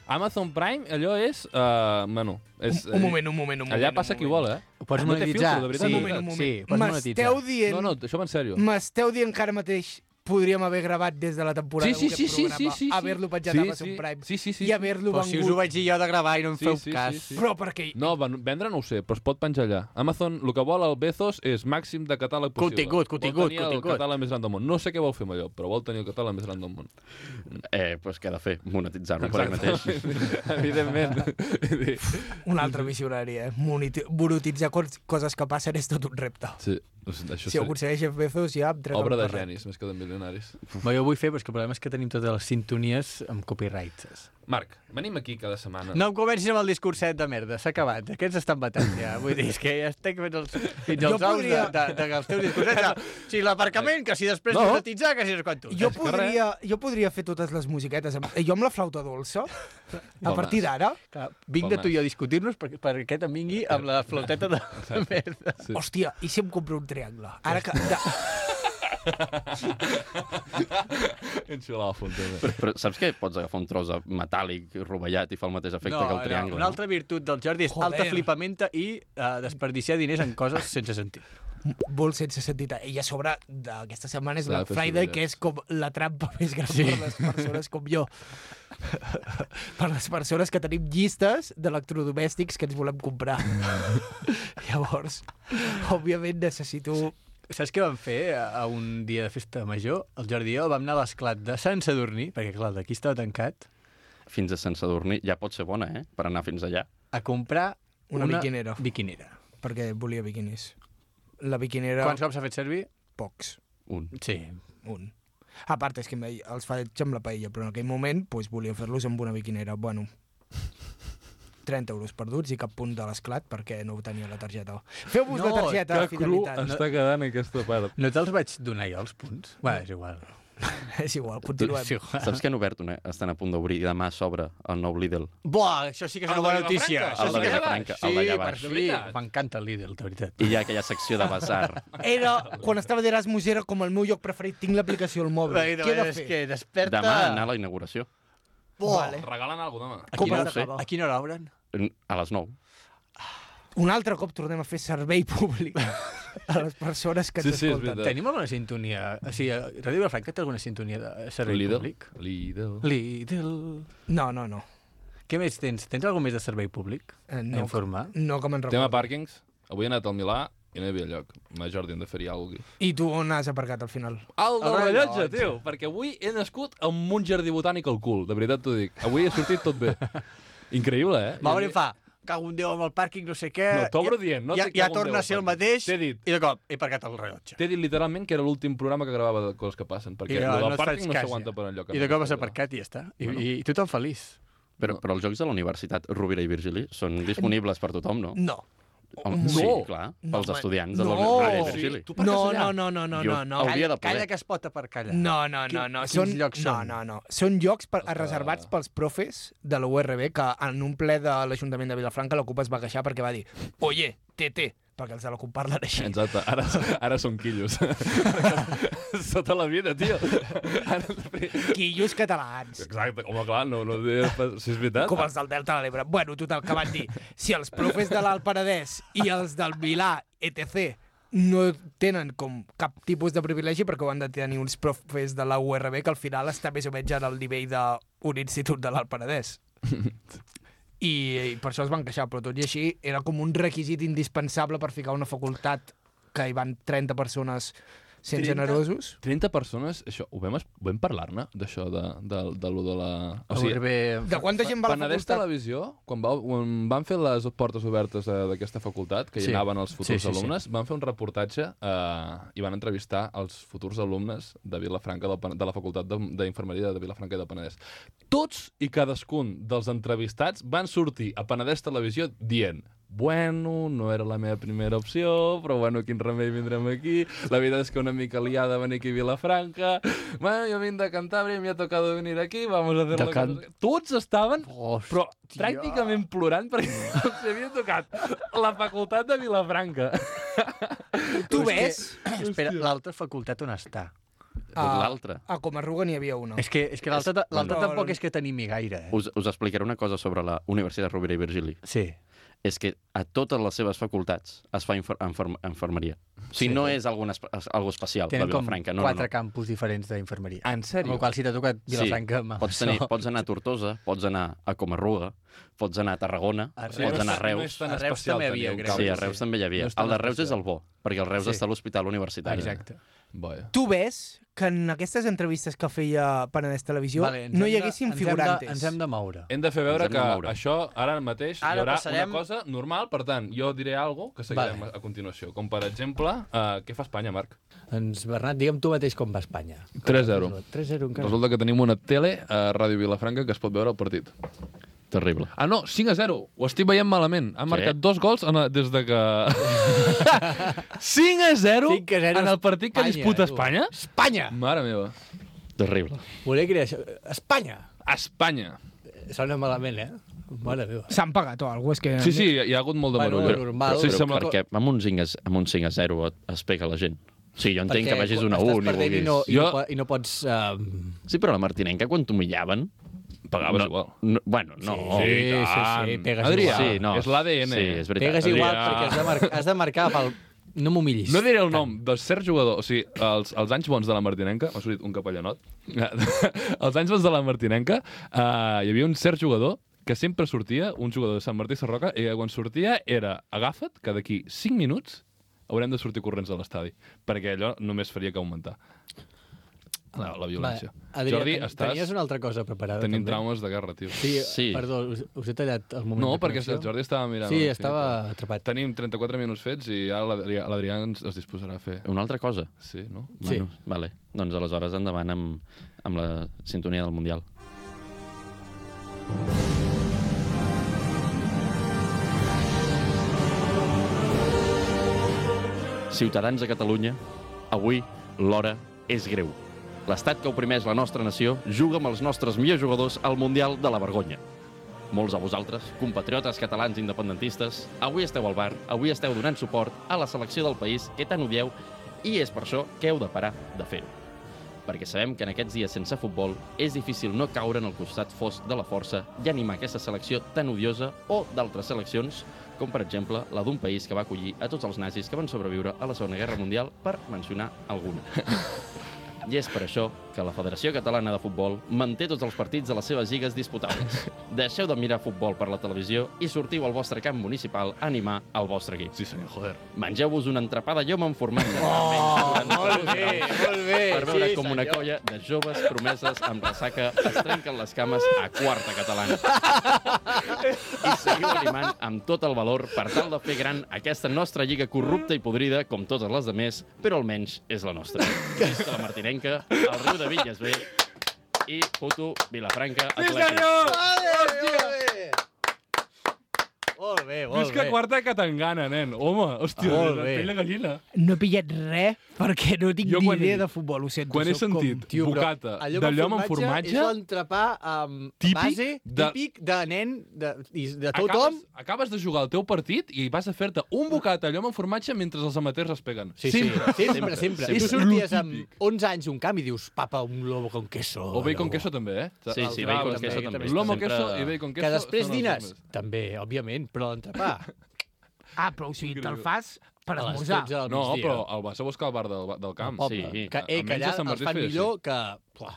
S2: Amazon Prime, allò és... Uh, bueno, és,
S1: eh,
S5: Un, un moment, un moment, un moment.
S2: Allà
S5: un
S2: passa qui
S5: moment.
S2: vol, eh?
S1: Ho
S5: Ah,
S1: pots
S2: No té
S1: monetitzar.
S2: filtro, de veritat,
S1: sí,
S5: Un
S2: de
S5: moment, un
S1: sí,
S5: moment.
S1: pots monetitzar.
S5: M'esteu dient...
S2: No, no, això va en sèrio.
S5: M'esteu dient que ara mateix podríem haver gravat des de la temporada
S2: Sí, sí, sí,
S5: d'aquest
S2: sí,
S5: programa,
S2: sí, sí, sí.
S5: haver-lo petjat
S2: Sí,
S5: a Amazon
S2: sí.
S5: Prime
S2: Sí, sí, sí,
S5: i haver-lo
S1: Però
S5: vengut.
S1: si us ho vaig dir jo de gravar i no em
S2: Sí,
S1: feu
S2: sí, sí,
S1: cas...
S2: sí.
S5: Però perquè...
S2: No, van, vendre no ho sé, però es pot penjar allà. Amazon, el que vol el Bezos és màxim de catàleg possible.
S1: Contingut, contingut,
S2: Vol tenir
S1: contingut.
S2: el catàleg més gran del món. No sé què vol fer amb allò, però vol tenir el catàleg més gran del món.
S3: Eh, doncs què ha de fer? Monetitzar-lo per ell mateix.
S2: Evidentment.
S5: Un altre visionari, eh? Moniti- Brutitzar cos- coses que passen és tot un repte.
S2: sí, això
S5: Si ho aconsegueix Jeff Bezos, ja em trec
S2: obra
S5: el
S2: de
S5: carrer.
S2: genis, més que de milionaris.
S1: Bé, jo ho vull fer, però és que el problema és que tenim totes les sintonies amb copyrights.
S2: Marc, venim aquí cada setmana.
S1: No em comencis amb el discurset de merda, s'ha acabat. Aquests estan matant ja. Vull dir, és que ja estic fins als, fins
S5: Jo
S1: als ous de,
S5: podria-
S1: de, de, dels teus discursets. De, si l'aparcament, que si després
S2: No.
S1: no. monetitzar, Doncs que si no és quan tu.
S5: Jo podria, jo podria fer totes les musiquetes. amb- eh, Jo amb la flauta dolça, a partir d'ara,
S1: Clar, vinc de tu i jo a discutir-nos perquè, perquè em vingui amb la floteta de de merda.
S2: Sí.
S5: hòstia, i si em compro un triangle? Ara que... De...
S2: Enxular la fontana.
S3: Però, però saps que pots agafar un tros de metàl·lic rovellat i fa el mateix efecte que el triangle?
S1: una altra virtut del Jordi és
S5: Joder.
S1: alta flipamenta i eh, desperdiciar diners en coses sense sentit.
S5: Molt sense sentit. eh, I a sobre d'aquesta setmana és
S2: S'ha de
S5: Black
S2: fer
S5: Friday,
S2: sorollets.
S5: que és com la trampa més gran sí. per les persones com jo. per les persones que tenim llistes d'electrodomèstics que ens volem comprar. Llavors, òbviament necessito...
S1: Saps què vam fer eh, a a un dia de festa major? El Jordi i jo vam anar a l'esclat de Sant Sadurní, perquè clar, el d'aquí estava tancat,
S3: Fins a Sant Sadurní ja pot ser bona, eh? Per anar fins allà.
S1: a comprar
S5: Una biquinera.
S1: biquinera.
S5: Perquè volia biquinis. La biquinera...
S1: Quants cops s'ha fet servir?
S5: Pocs.
S3: Un.
S1: Sí.
S5: Un. A part, és que me- els faig amb la paella, però en aquell moment doncs, volia fer-los amb una biquinera. Bueno, 30 euros perduts i cap punt de l'esclat perquè no tenia la targeta. Feu-vos
S1: No,
S5: la targeta,
S2: Que cru
S5: fidelitat.
S2: està quedant aquesta part.
S1: No te'ls vaig donar jo els punts? Bé, és igual.
S5: És igual, continuem.
S1: És igual.
S3: Saps que han obert una... Estan a punt d'obrir i demà s'obre el nou Lidl.
S1: Buah, això sí que és una
S2: El de
S1: bona
S2: Vilafranca,
S1: notícia.
S2: això
S1: Això sí
S3: sí
S1: que
S3: que és- Vilafranca, el
S1: Sí,
S3: d'allà
S1: per
S3: baix.
S1: fi.
S2: veritat.
S1: M'encanta el Lidl, de veritat.
S3: I hi ha aquella secció de bazar.
S5: Era, quan estava d'Erasmus, era com el meu lloc preferit. Tinc l'aplicació al mòbil.
S1: Bé,
S5: Què he de
S1: és
S5: fer?
S1: que desperta...
S3: Demà anar a la inauguració.
S5: Vale.
S2: Regalen alguna cosa,
S5: Com
S3: no
S5: has
S3: ho sé.
S5: d'acabar?
S1: A quina hora obren?
S3: A les 9.
S5: Un altre cop tornem a fer servei públic a les persones que
S2: Sí,
S5: ens
S2: sí, és
S5: escolten.
S2: veritat.
S1: Tenim alguna sintonia... O sigui, Ràdio Vilafranca té alguna sintonia de servei
S2: Lidl.
S1: públic?
S2: Lidl.
S1: Lidl...
S5: no, no, no.
S1: Què més tens? Tens alguna més de servei públic?
S5: Eh,
S1: No.
S5: no,
S1: Informar?
S5: no que me'n recordo.
S2: Tema pàrquings. Avui he anat al Milà I no hi havia lloc. Ma Jordi, hem de fer-hi alguna cosa.
S5: I tu on has aparcat al final?
S2: El del
S1: El
S2: rellotge,
S1: rellotge.
S2: tio! Perquè avui he nascut amb un jardí botànic al cul, de veritat t'ho dic. Avui ha sortit tot bé. Increïble, eh?
S1: Va venir i em fa, cago en Déu amb el pàrquing, no sé què...
S2: No, t'obro dient, no
S1: ja,
S2: sé què
S1: ja
S2: cago en Déu,
S1: torna a ser el
S2: pàrquing.
S1: mateix,
S2: T'he dit.
S1: i de cop he aparcat el rellotge.
S2: T'he dit literalment que era l'últim programa que gravava de coses que passen, perquè
S1: I
S2: el
S1: no,
S2: del
S1: no et faig
S2: pàrquing no
S1: cas,
S2: s'aguanta
S1: ja.
S2: per enlloc. eh?
S1: I de cop has aparcat i ja està. I,
S2: Bueno.
S1: i, i tothom feliç.
S3: Però, però els jocs de la Universitat Rovira i Virgili són disponibles per tothom, no?
S5: No.
S3: Home,
S5: No.
S3: Sí, clar,
S5: No,
S3: pels
S5: home,
S3: estudiants de
S5: no.
S3: la
S1: Oh,
S3: Rovira i
S2: Sí,
S3: Virgili.
S2: tu aparques
S5: No,
S2: allà.
S5: no, no, no, no,
S3: Jo
S5: no, no.
S3: hauria de poder.
S1: Calla que es pot aparcar allà.
S5: No, no,
S1: Qui-
S5: no, no.
S1: quins
S5: Són,
S1: llocs són?
S5: No, no, no. Són llocs per,
S2: Els que-
S5: reservats pels profes de la URB que en un ple de l'Ajuntament de Vilafranca la CUP es va queixar perquè va dir Oye, TT, perquè els de la CUP parlen així.
S2: Exacte, ara, ara són quillos. Sota la vida, tio. Ara,
S5: Quillos catalans.
S2: Exacte, home, clar, no, no, si és veritat.
S5: Com els del Delta de l'Ebre. Bueno, total, que van dir si els profes de l'Alt Penedès i els del Vilà, etc., no tenen com cap tipus de privilegi perquè ho han de tenir uns profes de la URB que al final està més o menys en el nivell d'un institut de l'Alt Penedès. I, I per això es van queixar, però tot i així era com un requisit indispensable per ficar una facultat que hi van 30 persones sent
S2: 30?
S5: generosos.
S2: 30 personnes, això, ho vam, es- ho vam parlar-ne, d'això, de, de, de lo de la...
S1: O sigui,
S5: De quanta gent va a la
S2: Penedès
S5: facultat?
S2: Televisió, quan, va, quan van fer les portes obertes eh, d'aquesta facultat, que hi
S1: Sí.
S2: anaven els futurs
S1: Sí, sí, sí.
S2: alumnes, van fer un reportatge eh, i van entrevistar els futurs alumnes de Vilafranca, del, Pen- de la facultat de- d'infermeria de Vilafranca i de Penedès. Tots i cadascun dels entrevistats van sortir a Penedès Televisió dient Bueno, no era la meva primera opció, però bueno, quin remei vindrem aquí. La veritat és que una mica liada venir aquí a Vilafranca. Bueno, jo vinc de Cantàbria, m'hi ha tocado venir aquí, vamos a hacer
S1: De
S2: la
S1: Can-
S2: cosa. Tots estaven
S1: Hòstia.
S2: però pràcticament plorant perquè els havia tocat la facultat de Vilafranca.
S5: Tu
S1: Però és
S5: ves?
S1: que- Espera, l'altra facultat on està?
S5: Ah.
S3: L'altre.
S5: A Comarruga n'hi havia una.
S1: És que, és que l'altra ta- l'altra
S5: Bueno.
S1: tampoc és que t'animi gaire, eh?
S3: Us, us explicaré una cosa sobre la Universitat Rovira i Virgili.
S1: Sí.
S3: És que a totes les seves facultats es fa infer enfer enfermeria. O sigui,
S1: Sí.
S3: sí. no és alguna espe es- algo especial,
S1: Tenen
S3: la
S1: com
S3: Vilafranca. No,
S1: quatre
S3: no, no.
S1: campus diferents d'infermeria.
S2: En
S1: Amb el qual, si t'ha tocat Vilafranca... amb
S3: Pots,
S1: això-
S3: tenir, pots anar a Tortosa, pots anar a Comarruga, pots anar a Tarragona,
S1: A Reus.
S3: pots anar a
S2: No
S3: Reus.
S2: és tan
S1: A Reus
S2: especial
S1: també
S2: tenir
S1: havia,
S2: un
S1: crec.
S2: campus.
S3: Sí, a Reus també hi havia.
S2: No és tan
S3: el de Reus és
S2: especial.
S3: el bo, perquè el Reus
S1: Sí.
S3: sí. està a l'Hospital
S2: eh?
S3: Universitari.
S1: Exacte.
S2: Vaja.
S5: Tu ves que en aquestes entrevistes que feia Penedès Televisió
S1: ens
S5: no
S1: hem
S5: hi
S1: de-
S5: haguessin
S1: ens hem de-
S5: figurantes.
S1: Ens hem de moure.
S2: Hem de fer veure
S3: Ens hem
S2: que
S3: de moure.
S2: això ara mateix
S1: Ara
S2: hi haurà
S1: passarem-
S2: una cosa normal, per tant, jo diré algo que seguirem
S1: Vale.
S2: a continuació. Com, per exemple, eh, què fa Espanya, Marc?
S1: Doncs, Bernat, digue'm tu mateix com va Espanya.
S2: 3-0.
S1: 3-0 encara.
S2: Resulta que tenim una tele a Ràdio Vilafranca que es pot veure el partit.
S3: Terrible.
S2: Ah, no, 5 a 0. Ho estic veient malament. Han
S3: Sí?
S2: marcat dos gols en el, des de que... 5 a 0,
S1: 5 a 0
S2: en el partit que
S1: Espanya,
S2: disputa
S1: tu.
S2: Espanya? eh,
S1: Espanya!
S2: Mare meva.
S3: Terrible.
S1: Volia crear això. Espanya!
S2: Espanya.
S1: Sona malament, eh? Mare meva.
S5: S'han pagat o alguna cosa? que...
S2: Sí, sí, hi ha hagut molt de
S1: Bueno,
S2: bueno,
S1: normal.
S2: berull.
S1: Mal,
S2: sí,
S3: però
S2: sembla-
S3: perquè amb un, 5 a, amb un 5 a 0 et, es pega la gent. Sí, jo entenc
S1: Perquè
S3: que vagis una a
S1: estàs
S3: 1 i
S1: perdent
S3: vulguis...
S1: I no, i,
S2: Jo-
S1: no, po- i no pots... Uh,
S3: Sí, però la Martinenca, quan t'humillaven...
S2: Pagaves igual.
S3: No, bueno, no.
S1: Sí,
S2: i tant.
S1: sí, sí, pegues
S2: Adrià,
S1: igual.
S3: Sí, no.
S2: és l'ADN.
S3: Sí, és veritat.
S1: pegues igual
S2: Adrià.
S1: perquè has de, marcar, has de marcar pel... No m'humillis.
S2: No diré el nom dels certs jugadors, o sigui, els, els anys bons de la Martinenca, m'ha sortit un capellanot, els anys bons de la Martinenca, eh, hi havia un cert jugador que sempre sortia, un jugador de Sant Martí Sarroca, i que quan sortia era, agafa't, que d'aquí 5 minuts haurem de sortir corrents de l'estadi, perquè allò només faria que augmentar la, la violència.
S1: Va, Adrià,
S2: Jordi,
S1: ten- tenies
S2: estàs
S1: una altra cosa preparada.
S2: tenint
S1: també?
S2: traumes de guerra, tio.
S1: Sí, sí,
S3: Sí.
S1: perdó, us, us he tallat el moment.
S2: No,
S1: de
S2: perquè
S1: connexió.
S2: el Jordi estava mirant...
S1: Sí,
S2: a l'infinit.
S1: estava atrapat.
S2: Tenim 34 minuts fets i ara l'Adrià- l'Adrià ens es disposarà a fer...
S3: Una altra cosa.
S2: Sí, no?
S1: Sí.
S3: Bueno, vale. Doncs aleshores endavant amb, amb la sintonia del Mundial. Ciutadans de Catalunya, avui l'hora és greu. L'estat que oprimeix la nostra nació juga amb els nostres millors jugadors al Mundial de la Vergonya. Molts de vosaltres, compatriotes catalans independentistes, avui esteu al bar, avui esteu donant suport a la selecció del país que tant odieu i és per això que heu de parar de fer-ho. Perquè sabem que en aquests dies sense futbol és difícil no caure en el costat fosc de la força i animar aquesta selecció tan odiosa o d'altres seleccions, com per exemple la d'un país que va acollir a tots els nazis que van sobreviure a la Segona Guerra Mundial, per mencionar alguna. I és per això que la Federació Catalana de Futbol manté tots els partits de les seves lligues disputables. Deixeu de mirar futbol per la televisió i sortiu al vostre camp municipal a animar el vostre equip.
S2: Sí, senyor, joder.
S3: Mengeu-vos una entrapada llom en format de
S2: Ah,
S1: Oh, molt bé, molt bé.
S3: per veure
S1: sí,
S3: com una
S1: senyor.
S3: colla de joves promeses amb ressaca es trenquen les cames a quarta catalana. I seguiu animant amb tot el valor per tal de fer gran aquesta nostra lliga corrupta i podrida, com totes les de més, però almenys és la nostra. Des de la Martinenca, el riu de Villas Bé i puto Vilafranca Atlètic.
S1: Molt bé, molt
S2: Visca
S1: bé.
S2: quarta que t'engana, nen. Home, hòstia,
S1: Molt
S2: la
S1: bé.
S2: pell de gallina.
S5: No he pillat res perquè no tinc
S2: Jo
S5: ni
S2: quan-
S5: idea de futbol, ho sento.
S2: Quan he
S5: sóc com-
S2: sentit
S1: Tio, però
S2: bocata
S1: el llop
S2: de llom amb
S1: És
S2: formatge,
S1: l'entrepà um,
S2: Típic
S1: base,
S2: de-
S1: típic de nen, de, i de tothom.
S2: acabes, acabes de jugar el teu partit i vas a fer-te un bocata de llom amb formatge mentre els amateurs es peguen.
S1: Sí, sí,
S2: Sempre.
S1: sí, sempre, sempre. I tu
S2: És
S1: sorties
S2: lo típic.
S1: amb 11 anys un camp i dius, papa, un lobo con queso.
S2: O bacon queso també, eh?
S3: Sí, sí, bacon queso també.
S2: Lomo
S3: Sempre-
S2: queso i bacon queso
S1: Que després
S2: són els
S1: dines.
S2: homes.
S1: També, òbviament, però l'entrepà.
S5: Ah, però o sigui, te'l fas per
S1: A les
S5: esmorzar.
S1: 12 del
S2: No,
S1: migdia.
S2: però el vas a buscar al bar del, del camp.
S1: Poble.
S3: sí,
S1: que, eh,
S2: almenys
S1: que allà
S2: a Sant
S1: els
S2: Martí
S1: fan
S2: es feia
S1: millor que... Pua,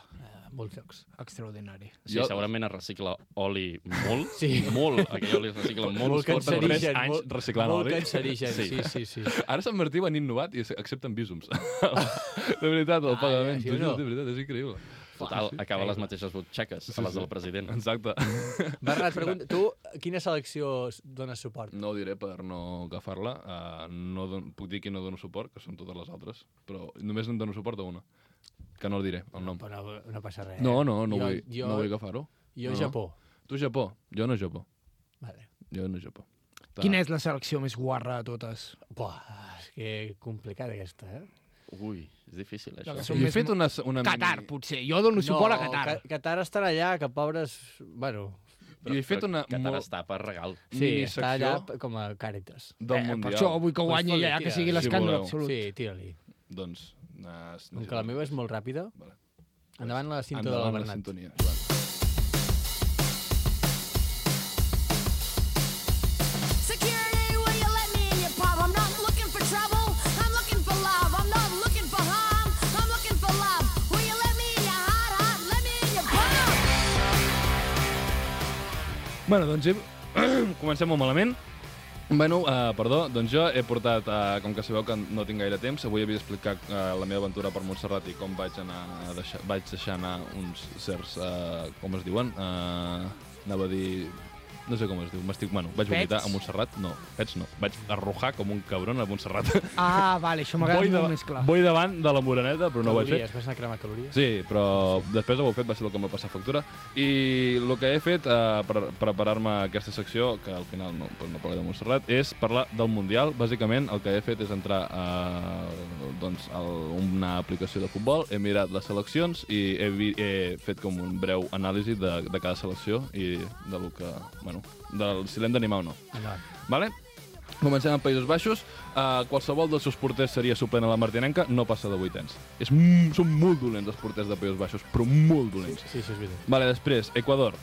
S1: a molts llocs.
S5: Extraordinari.
S3: Sí,
S2: Jo-
S3: segurament es recicla oli molt,
S1: Sí.
S3: molt, aquell oli es recicla molt.
S1: molt
S3: fort, però
S2: cancerigen.
S1: cancerigen.
S2: tres anys
S1: molt-
S2: reciclant
S1: Molt
S2: oli.
S1: cancerigen,
S3: Sí.
S1: sí, sí, sí.
S2: Ara Sant Martí ho han innovat i accepten vísums. de veritat, el
S1: Ah,
S2: pagament.
S1: ja, sí
S2: T'ho
S1: o no?
S2: juro, de veritat, és increïble.
S3: Total, acaba les mateixes butxaques a les del president.
S2: Exacte.
S1: Bernat, pregunta, tu quina selecció dones suport?
S2: No ho diré per no agafar-la. Uh, no don... Puc dir que no dono suport, que són totes les altres, però només en dono suport a una, que no el diré, el nom.
S1: Però no, no passa res.
S2: Eh,
S1: eh?
S2: No, no, no
S1: jo,
S2: vull,
S1: Jo,
S2: no vull agafar-ho.
S1: Jo,
S2: No, no.
S1: Japó.
S2: Tu Japó, jo no Japó,
S1: Vale.
S2: jo no Japó. Ta-
S5: Quina és la selecció més guarra de totes?
S1: Buah, és que complicada aquesta, eh?
S3: Ui, és difícil, això.
S5: que són
S2: Jo he
S5: més
S2: fet una, una
S5: Qatar, potser. Jo dono suport a Qatar.
S1: Ca- Qatar estarà allà, que pobres... Bueno,
S2: Mini... Jo he fet una
S3: Qatar
S2: molt...
S3: està per regal.
S1: sí,
S2: mini
S1: està
S2: secció
S1: allà com a càritas.
S2: del
S5: Eh,
S2: Mundial.
S5: per això vull que
S1: Pues
S5: guanyi
S1: fot-li,
S5: allà, que
S1: tira.
S5: sigui
S2: Si
S5: l'escàndol
S2: voleu.
S5: absolut.
S1: Sí, tira-li.
S2: Doncs... Na,
S1: Com que la meva és molt ràpida,
S2: Vale.
S1: vale. endavant la cinta del
S2: Endavant la
S1: Bernat.
S2: sintonia, Joan.
S6: Security, will you let me in your pub? I'm not looking for trouble. I'm looking for love. I'm not looking for harm. I'm looking for love. Will you let me in your heart, heart? Let me in your pub.
S2: Bueno, doncs he... comencem molt malament. Bueno, uh, perdó, doncs jo he portat, uh, com que sabeu que no tinc gaire temps, avui havia d'explicar uh, la meva aventura per Montserrat i com vaig, anar a deixar, vaig deixar anar uns certs, uh, com es diuen, uh, anava a dir... No sé com es diu, m'estic... Bueno, vaig vomitar a Montserrat, no, pets no, vaig arrojar com un cabron a Montserrat.
S5: Ah, vale, això m'agrada
S2: Vull
S5: molt
S2: dava-
S5: més clar.
S2: Vull davant de la moreneta, però no ho vaig fer.
S1: Calories, vas anar a cremar calories?
S2: Sí, però després d'haver fet va ser el que em va passar factura. I el que he fet eh, per preparar-me a aquesta secció, que al final no, pues no parlaré de Montserrat, és parlar del Mundial. Bàsicament el que he fet és entrar a, doncs, a una aplicació de futbol, he mirat les seleccions i he, vi, he fet com un breu anàlisi de, de cada selecció i de lo que, bueno, del, si l'hem d'animar o no.
S1: Endavant.
S2: Vale? Comencem amb Països Baixos. Uh, qualsevol dels seus porters seria suplent a la Martinenca, no passa de vuitens. És, mm, són molt dolents els porters de Països Baixos, però molt dolents.
S1: Sí, sí, és veritat.
S2: Vale, després, Equador.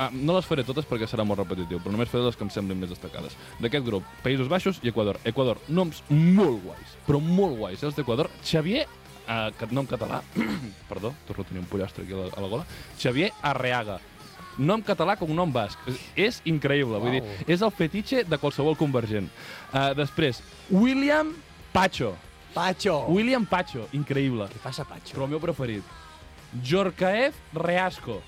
S2: Ah, no les faré totes perquè serà molt repetitiu, però només faré les que em semblin més destacades. D'aquest grup, Països Baixos i Equador. Equador, noms molt guais, però molt guais. Els d'Equador, Xavier, eh, que- nom català, perdó, torno a tenir un pollastre aquí a la, a la gola, Xavier Arreaga. Nom català com nom basc. És, és increïble, vull dir, és el fetitxe de qualsevol convergent. Uh, després, William Pacho.
S1: Patxo! Ui.
S2: William Pacho, increïble.
S1: Què passa, Patxo?
S2: Però el meu preferit. Jorkaev Reasco.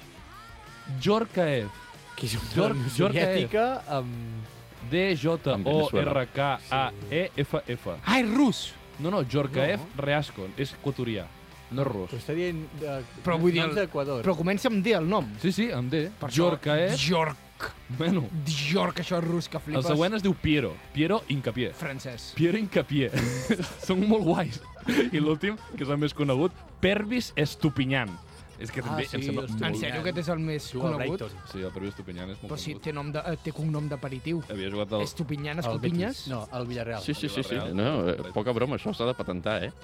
S2: Jorkaev.
S1: Que és un
S2: Jor-
S1: dron
S2: Jorge.
S1: soviètica amb...
S2: D-J-O-R-K-A-E-F-F.
S5: Ah, és rus!
S2: E No, no, Jorkaev Reasco. És equatorià, no és rus.
S1: Però està dient... De...
S5: Però vull dir-
S1: noms d'Equador.
S5: Però comença amb D, el nom.
S2: Sí, sí, amb D.
S5: Per això-
S2: Jorkaev.
S5: Jork.
S2: Bueno,
S5: Jork, això és rus, que
S2: eh? el
S5: flipes.
S2: següent es diu Piero. Piero Incapié.
S5: Francès.
S2: Piero Incapié. Són molt guais. I l'últim, que és el més conegut, Pervis Estupinyan. És que
S1: Ah,
S2: també
S1: sí,
S2: em sembla
S1: Estupinyan.
S5: En
S2: molt...
S5: sèrio, aquest és el més
S1: Juga al
S5: conegut?
S1: Brighton.
S2: Sí, el Pervis Estupinyan és molt
S5: Però si
S2: conegut.
S5: té, nom de, eh, té cognom d'aperitiu.
S2: Havia jugat al...
S5: Estupinyant,
S1: Al Betis.
S5: escopinyes?
S1: No, al Villarreal.
S3: Sí, sí, sí, sí. No, eh, poca broma, això s'ha de patentar, eh?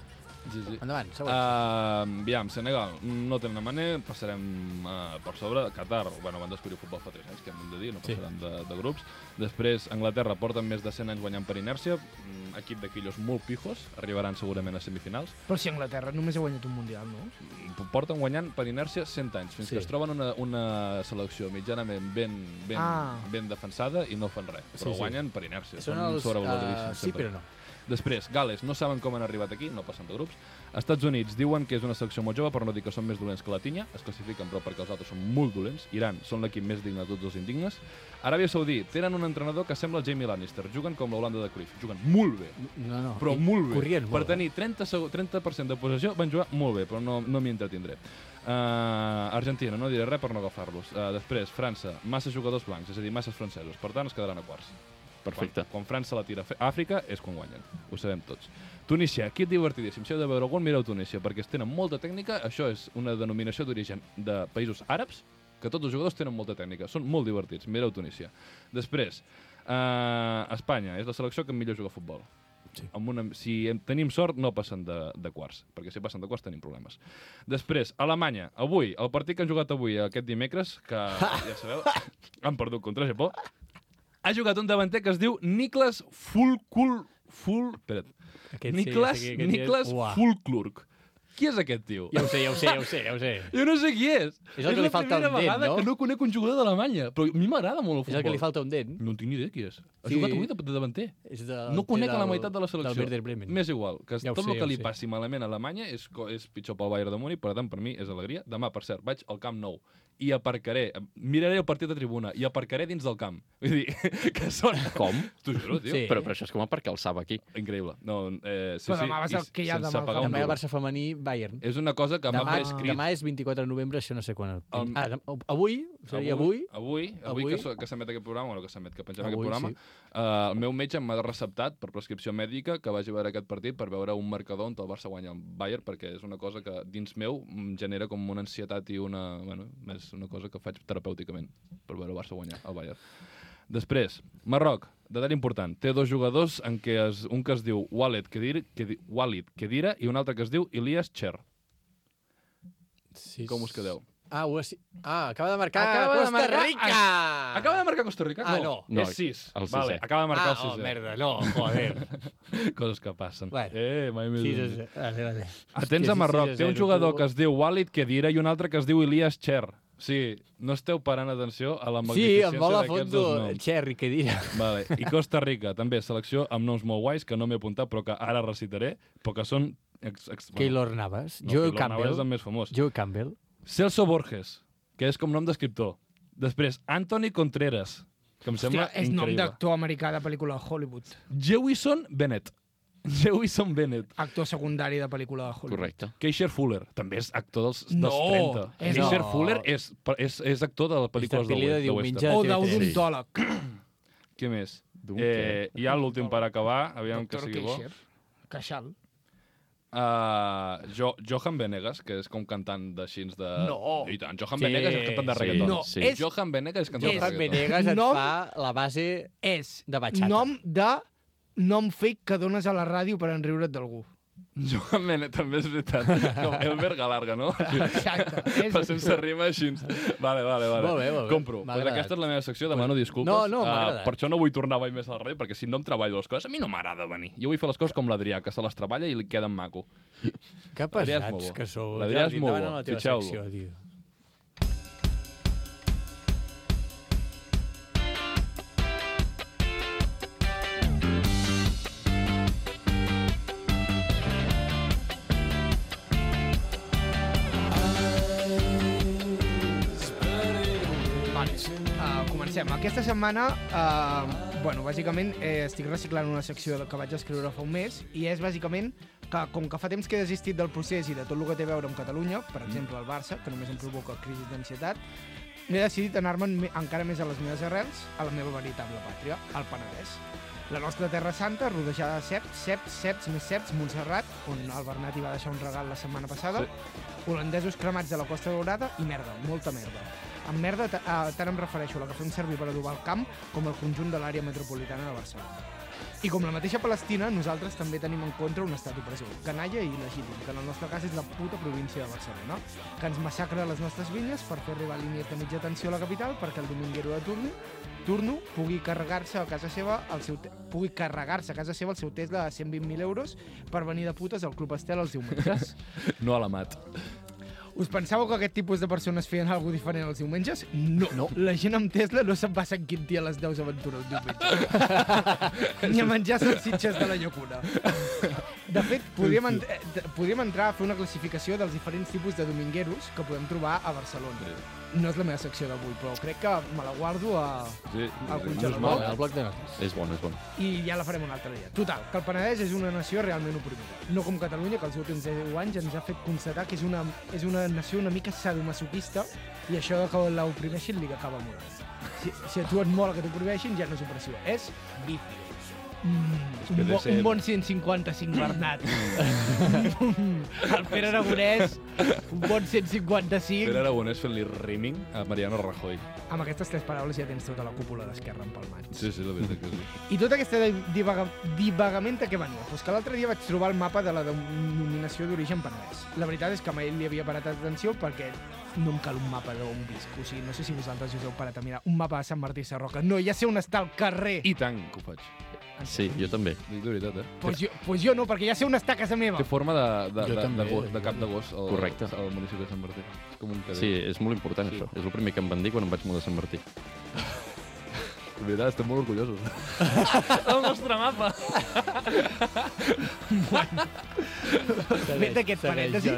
S2: GG.
S1: Endavant,
S5: Ah,
S1: següent.
S2: Uh, aviam, Senegal, no tenen maner, passarem uh, per sobre. Qatar, bueno, van descobrir el futbol fa 3 anys, que hem de dir, no
S1: Sí.
S2: passarem de, de grups. Després, Anglaterra porten més de 100 anys guanyant per inèrcia. Mm, equip de quillos molt pijos, arribaran segurament a semifinals.
S5: Però si Anglaterra només ha guanyat un mundial, no?
S2: Mm, Porten guanyant per inèrcia 100 anys, fins
S1: Sí.
S2: sí. que es troben una, una selecció mitjanament ben, ben,
S5: Ah.
S2: ah. ben defensada i no fan res. Però
S1: Sí, sí.
S2: guanyen per inèrcia.
S1: Són els...
S2: sobrevaloradíssims
S1: Uh, sí,
S2: sempre.
S1: però no.
S2: Després, Gales, no saben com han arribat aquí, no passen de grups. Estats Units diuen que és una selecció molt jove, per no dir que són més dolents que la tinya. Es classifiquen, però perquè els altres són molt dolents. Iran són l'equip més digne de tots els indignes. Aràbia Saudí tenen un entrenador que sembla el Jamie Lannister. Juguen com l'Holanda de Cruyff. Juguen molt bé.
S1: No, no.
S2: Però
S1: I
S2: molt bé.
S1: Corrien molt
S2: per tenir 30, seg- 30% de possessió van jugar molt bé, però no, no m'hi entretindré. Uh, Argentina, no diré res per no agafar-los. Uh, després, França, massa jugadors blancs, és a dir, masses francesos. Per tant, es quedaran a quarts.
S3: Perfecte.
S2: Quan, quan França la tira a Fe- a Àfrica és quan guanyen, ho sabem tots. Tunísia, equip divertidíssim. Si heu de veure algun, mireu Tunísia, perquè es tenen molta tècnica. Això és una denominació d'origen de països àrabs, que tots els jugadors tenen molta tècnica. Són molt divertits, mireu Tunísia. Després, eh, Espanya és la selecció que millor juga a futbol. Sí. Amb una, si en tenim sort, no passen de, de quarts, perquè si passen de quarts tenim problemes. Després, Alemanya, avui, el partit que han jugat avui, aquest dimecres, que ja sabeu, han perdut contra Japó, ha jugat un davanter que es diu Niklas Fulkul... Ful... Espera't.
S1: Aquest sí,
S2: Niklas,
S1: sí,
S2: sí,
S1: aquest sí.
S2: Niklas
S1: Uah.
S2: Fulklurk. Qui és aquest tio?
S1: Ja ho sé, ja ho sé, ja ho sé, ja ho sé.
S2: Jo no sé qui és.
S1: És el que li
S2: la
S1: falta
S2: primera
S1: un dent,
S2: vegada
S1: no?
S2: que no conec un jugador d'Alemanya, però a mi m'agrada molt el
S1: És
S2: futbol.
S1: el que li falta un dent.
S2: No en tinc ni idea qui és. Ha
S1: Sí.
S2: jugat avui de, de davanter.
S1: És de,
S2: No conec a la
S1: del-
S2: meitat de la
S1: Del
S2: selecció.
S1: Werder Bremen.
S2: M'és igual, que
S1: Ja ho
S2: tot
S1: sé,
S2: el
S1: ja
S2: que
S1: ho
S2: li
S1: sé.
S2: passi malament a Alemanya és, co- és pitjor pel Bayern de Múnich, per tant, per mi és alegria. Demà, per cert, vaig al Camp Nou i aparcaré, miraré el partit de tribuna i aparcaré dins del camp. Vull dir, que són...
S3: Com?
S2: T'ho juro, tio.
S1: Sí.
S3: Però, però això és com perquè el sap aquí.
S2: Increïble. No, eh, sí,
S5: Però
S2: sí,
S5: demà vas
S2: i
S5: al- que hi ha
S2: sense
S5: demà al
S2: pagar
S5: Camp
S2: un
S1: Demà hi ha
S2: duro.
S1: Barça femení, Bayern.
S2: És una cosa que m'ha
S1: Demà,
S2: prescrit.
S1: demà és 24 de novembre, això no sé quan...
S2: El-
S1: El... Ah, demà, avui? Seria avui?
S2: Avui,
S1: Avui?
S2: avui, avui que, so- que s'emet aquest programa, bueno, que s'emet, que pengem
S1: Avui,
S2: aquest programa,
S1: sí.
S2: sí. uh, el meu metge m'ha receptat per prescripció mèdica que vagi a veure aquest partit per veure un marcador on el Barça guanya el Bayern, perquè és una cosa que dins meu em genera com una ansietat i una... Bueno, és una cosa que faig terapèuticament per veure el Barça guanyar el Bayern. Després, Marroc, detall important, té dos jugadors en què es, un que es diu Walid Kedir, Kedir, Walid Kedira i un altre que es diu Ilias Cher.
S1: Sí.
S2: Com us quedeu?
S1: Ah, ho ha si- ah, acaba de marcar
S2: Acaba de
S1: Costa
S2: marcar-
S1: Rica!
S2: Acaba de marcar Costa Rica?
S1: Ah,
S3: no.
S2: És 6.
S3: El
S2: vale,
S3: sisè.
S2: acaba de marcar
S1: ah,
S2: el eh. 6.
S1: oh, merda, no, joder.
S2: Coses que passen.
S1: Bueno.
S2: Eh, mai més.
S1: sí, sí,
S2: Sí,
S1: sí. Vale, vale.
S2: Atents a Marroc. Té un jugador que es diu Walid Kedira i un altre que es diu Ilias Cher. Sí, no esteu parant atenció a la
S1: Sí,
S2: magnificència
S1: em vol a
S2: d'aquests
S1: fondo,
S2: dos noms.
S1: Cherry, que dirà.
S2: Vale. I Costa Rica, també, selecció amb noms molt guais que no m'he apuntat, però que ara recitaré, però que són... Ex, ex,
S1: Keylor Navas,
S2: no,
S1: Joe
S2: Keylor Navas
S1: Campbell,
S2: és el més famós.
S1: Joe Campbell,
S2: Celso Borges, que és com nom d'escriptor. Després, Anthony Contreras, que em sembla
S5: Hòstia, és nom
S2: increïble.
S5: d'actor americà de pel·lícula de Hollywood.
S2: Jewison Bennett. Jewison Bennett.
S5: Actor secundari de pel·lícula de Hollywood.
S3: Correcte.
S2: Keisher Fuller també és actor dels,
S5: No,
S2: dels 30.
S5: és
S2: Keisher
S1: no.
S2: Fuller és, és, és actor de les pel·lícules de,
S1: Pili de
S2: West- de
S1: diumenge.
S2: Western.
S5: O
S1: Sí, sí.
S5: d'odontòleg.
S2: Què més?
S3: D'un
S2: Eh, I ja l'últim per acabar, aviam que
S5: Doctor
S2: sigui bo.
S5: Keisher. Queixal.
S2: Uh, jo, Johan Venegas, que és com cantant de xins de...
S5: No.
S2: I tant, Johan
S1: Sí,
S2: Venegas és cantant de
S3: sí.
S2: reggaeton.
S5: No,
S3: sí.
S5: és,
S2: Johan Venegas és cantant
S5: És-
S2: de
S1: Johan
S2: reggaeton.
S1: Venegas et
S5: Nom-
S1: fa la base...
S5: és
S1: De bachata.
S5: nom de nom fake que dones a la ràdio per enriure't d'algú.
S2: Johan Venegas també és veritat. Com Elmer Galarga, no?
S5: Exacte. És,
S2: Però sense rima així. Vale, vale, vale.
S1: Molt bé, molt bé.
S2: Compro.
S1: M'ha
S2: Pues
S1: agradat.
S2: aquesta és la meva secció, demano disculpes.
S1: No, no, m'ha
S2: Eh,
S1: agradat.
S2: Per això no vull tornar mai més a la ràdio, perquè si no em treballo les coses, a mi no m'agrada venir. Jo vull fer les coses com l'Adrià, que se les treballa i li queden maco.
S1: Que
S2: L'Adrià és
S1: pesats
S2: molt bo.
S1: que sou.
S2: L'Adrià és
S1: Jordi,
S2: molt
S1: endavant
S2: bo.
S1: amb la teva
S2: Fitxeu-lo.
S1: secció, tio.
S5: Doncs, uh, comencem. Aquesta setmana, uh, bueno, bàsicament eh, estic reciclant una secció que vaig escriure fa un mes i és bàsicament que, com que fa temps que he desistit del procés i de tot el que té a veure amb Catalunya, per exemple el Barça, que només em provoca crisis d'ansietat, he decidit anar-me'n me- encara més a les meves arrels, a la meva veritable pàtria, al Penedès. La nostra Terra Santa, rodejada de ceps, ceps, ceps, més ceps, Montserrat, on el Bernat hi va deixar un regal la setmana passada, holandesos cremats a la Costa Daurada i merda, molta merda. Amb merda ta- ah, tant em refereixo a la que fem servir per adobar el camp com al conjunt de l'àrea metropolitana de Barcelona. I com la mateixa Palestina, nosaltres també tenim en contra un estat opressor, canalla i il·legítim, que en el nostre cas és la puta província de Barcelona, que ens massacra les nostres vinyes per fer arribar línies de mitja tensió a la capital perquè el dominguero de turno, turno pugui carregar-se a casa seva el seu te- pugui carregar-se a casa seva el seu Tesla de 120.000 euros per venir de putes al Club Estel els diumenges.
S2: No a la mat.
S5: Us pensàveu que aquest tipus de persones feien alguna diferent els diumenges? No. no. La gent amb Tesla no se'n va a Sant Quintí a les 10 aventura un diumenge. Ni a menjar salsitxes de la llacuna. De fet, podríem, en eh, de- podríem entrar a fer una classificació dels diferents tipus de domingueros que podem trobar a Barcelona. No és la meva secció d'avui, però crec que me la guardo a...
S2: Sí,
S5: Al
S2: no és
S5: congelador.
S2: mal,
S1: Al
S2: eh?
S1: bloc de notes.
S3: És bon, és bon.
S5: i ja la farem un altre dia. Total, que el Penedès és una nació realment oprimida. No com Catalunya, que els últims 10 anys ens ha fet constatar que és una, és una nació una mica sadomasoquista i això de que l'oprimeixin li acaba morant. Si, si a tu et mola que t'oprimeixin, ja no és opressió, és vici. Mm, un, bo, un bon 155 Bernat. el Pere Aragonès, un bon 155.
S2: Pere Aragonès fent-li rimming a Mariano Rajoy.
S5: Amb aquestes tres paraules ja tens tota la cúpula d'Esquerra empalmats.
S2: Sí, sí, la veritat que sí.
S5: I tota aquesta di- divaga, divagament a què venia? Pues que l'altre dia vaig trobar el mapa de la denominació d'origen penedès. La veritat és que mai li havia parat atenció perquè no em cal un mapa d'on visc. O sigui, no sé si vosaltres us heu parat a mirar un mapa de Sant Martí Sarroca. No, ja sé on està el carrer. I...
S2: I tant que ho faig.
S3: Sí, jo també.
S2: Dic la veritat, eh?
S5: Pues jo, pues jo no, perquè ja sé on està casa meva.
S2: Té forma de, de,
S1: Jo
S2: de, de,
S1: també.
S2: go- de cap de gos al,
S3: Correcte.
S2: al municipi de Sant Martí. És com un cadell.
S3: Sí, és molt important, això. És el primer que em van dir quan em vaig mudar a Sant Martí.
S2: De veritat, estem molt orgullosos.
S7: El nostre mapa.
S5: Fet d'aquest parèntesi,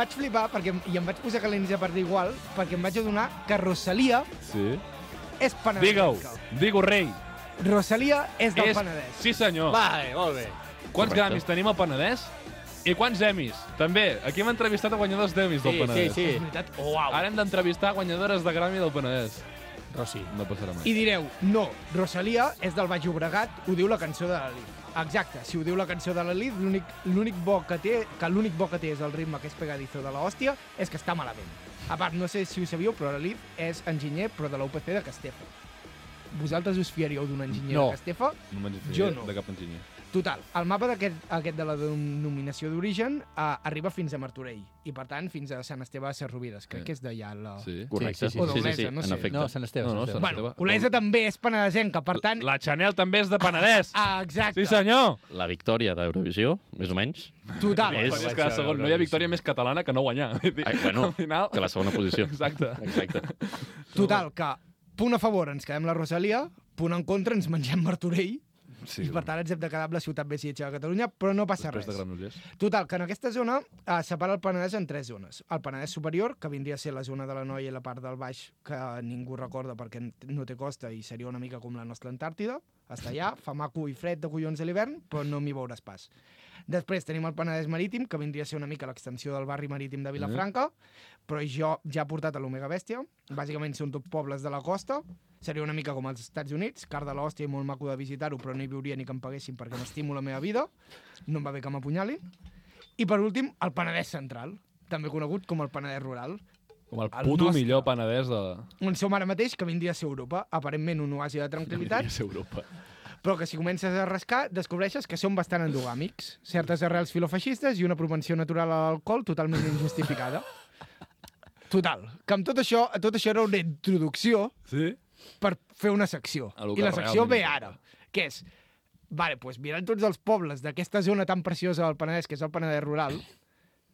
S5: vaig flipar perquè, i em vaig posar calents a partir igual perquè em vaig adonar que Rosalia
S2: Sí.
S5: és penedès.
S2: Digue-ho. Digue-ho, rei.
S5: Rosalia és del
S2: És-
S5: Penedès.
S2: Sí, senyor.
S1: Vale, molt bé.
S2: Quants
S3: Correcte.
S2: Grammys tenim al Penedès? I quants Emmys? També. Aquí hem entrevistat a guanyadors d'Emmys del
S1: Sí, sí,
S2: Penedès.
S1: sí.
S5: És veritat? Oh, wow.
S2: Ara hem d'entrevistar guanyadores de Grammy del Penedès.
S1: Rossi.
S2: No passarà mai.
S5: I direu, no, Rosalia és del Baix Llobregat, ho diu la cançó de la Lid. Exacte, si ho diu la cançó de la Lid, l'únic l'únic bo que té, que l'únic bo que té és el ritme que és pegadizo de la hòstia, és que està malament. A part, no sé si ho sabíeu, però la Lid és enginyer, però de l'UPC de Castefa. Vosaltres us fiaríeu d'un enginyer
S1: No.
S5: de Castefa?
S2: No me'n
S5: Jo
S2: fiaré
S5: no.
S2: de cap enginyer.
S5: Total, el mapa d'aquest aquest de la denominació d'origen eh, arriba fins a Martorell i, per tant, fins a Sant Esteve de Sarrovires. Crec
S2: Sí.
S5: que és d'allà la...
S2: Sí.
S3: Correcte.
S1: Sí, sí, sí.
S3: sí,
S5: O d'Olesa, eh, no sé.
S3: en efecte.
S1: No, Sant Esteve.
S2: No,
S1: Sant Esteve.
S2: no, Sant-
S5: Bueno, Olesa també és penedesenca, per tant...
S2: La Chanel també és de Penedès.
S5: Ah, exacte.
S2: Sí, senyor.
S3: La victòria d'Eurovisió, més o menys,
S5: Total.
S3: És-
S2: Penedès cada segon. No hi ha victòria més catalana que no guanyar.
S3: Ah, bueno,
S2: Al final...
S3: que la segona posició.
S2: Exacte.
S3: Exacte.
S5: Total, que punt a favor ens quedem la Rosalia, punt en contra ens mengem Martorell, sí, i per tant ens hem de quedar amb la ciutat més lletja de Catalunya, però no passa
S2: Després de
S5: res.
S2: Granollers.
S5: Total, que en aquesta zona eh, separa el Penedès en tres zones. El Penedès superior, que vindria a ser la zona de la Noia i la part del Baix, que ningú recorda perquè n- no té costa i seria una mica com la nostra Antàrtida. Està allà, fa maco i fred de collons a l'hivern, però no m'hi veuràs pas. Després tenim el Penedès Marítim, que vindria a ser una mica l'extensió del barri marítim de Vilafranca, però jo ja he portat a l'Omega Bèstia. Bàsicament són tot pobles de la costa, seria una mica com als Estats Units, car de l'hòstia i molt maco de visitar-ho, però no hi viuria ni que em paguessin perquè m'estimo la meva vida, no em va bé que m'apunyalin. I per últim, el Penedès Central, també conegut com el Penedès Rural,
S2: Com el
S5: El
S2: puto
S5: nostre.
S2: millor Penedès de...
S5: on som ara mateix, que vindria a ser Europa, aparentment un oasi de tranquil·litat,
S2: És Europa.
S5: però que si comences a rascar descobreixes que són bastant endogàmics, certes arrels filofeixistes i una propensió natural a l'alcohol totalment injustificada. Total, que amb tot això, tot això era una introducció
S2: Sí?
S5: per fer una secció.
S2: A lo que
S5: I la secció
S2: realment
S5: ve
S2: importa.
S5: ara, que és... Vale, pues mirant tots els pobles d'aquesta zona tan preciosa del Penedès, que és el Penedès rural,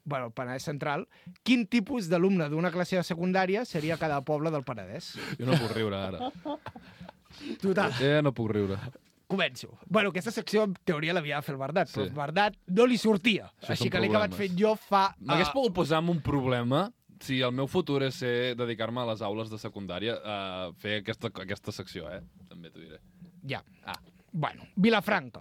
S5: bueno, el Penedès central, quin tipus d'alumne d'una classe de secundària seria cada poble del Penedès?
S2: Jo no puc riure, ara.
S5: Total,
S2: Eh, no puc riure.
S5: començo. Bueno, aquesta secció en teoria l'havia de fer el Bardat,
S2: Sí.
S5: sí. però el Bardat no li sortia.
S2: Això
S5: Això
S2: són
S5: així que l'he acabat
S2: problemes.
S5: fent jo fa...
S2: M'hagués
S5: ah,
S2: pogut posar en un problema si el meu futur és ser dedicar-me a les aules de secundària a fer aquesta, aquesta secció, eh? També t'ho diré.
S5: Ja.
S2: Ah.
S5: Bueno, Vilafranca.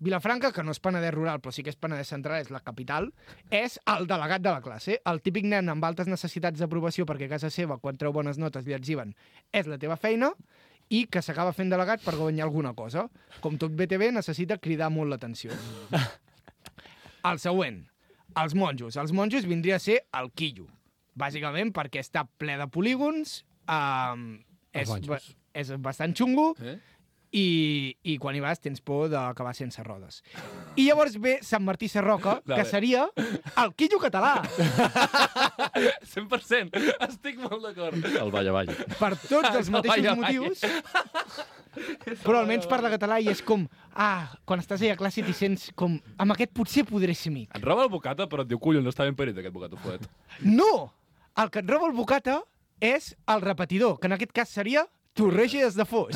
S5: Vilafranca, que no és Penedès rural, però sí que és Penedès central, és la capital, és el delegat de la classe. El típic nen amb altes necessitats d'aprovació perquè a casa seva, quan treu bones notes, li etziben és la teva feina i que s'acaba fent delegat per guanyar alguna cosa. Com tot BTV, necessita cridar molt l'atenció. El següent, els monjos. Els monjos vindria a ser el quillo. Bàsicament perquè està ple de polígons, Um, és,
S1: banjos.
S5: ba- és bastant xungo
S2: Eh?
S5: i, i quan hi vas tens por d'acabar sense rodes. I llavors ve Sant Martí Sarroca,
S2: Dale.
S5: que seria el quillo català.
S7: 100%. Estic molt d'acord.
S3: El balla, balla.
S5: per tots els mateixos
S7: Vaya, vaya.
S5: motius, però almenys parla català i és com, ah, quan estàs ahí a classe t'hi sents com, amb aquest potser podré ser amic.
S2: Et roba el bocata, però et diu, collons, no està ben parit aquest bocata, fuet.
S5: No! El que et roba el bocata és el repetidor, que en aquest cas seria torrelles de foix.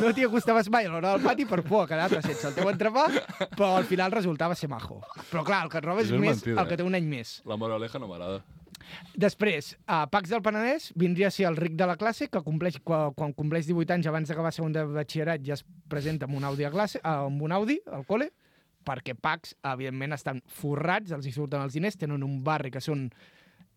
S5: No t'hi acostaves mai a l'hora del pati per por a quedar-te sense el teu entrepà, però al final resultava ser majo. Però clar, el que et roba és,
S2: Això és
S5: més
S2: mentida,
S5: el
S2: eh?
S5: que té un any més.
S2: La moraleja no m'agrada.
S5: Després, a Pax del Penedès vindria a ser el ric de la classe, que compleix, quan, quan compleix 18 anys abans d'acabar segon de batxillerat ja es presenta amb un Audi a classe, eh, amb un Audi al col·le, perquè Pax, evidentment, estan forrats, els hi surten els diners, tenen un barri que són...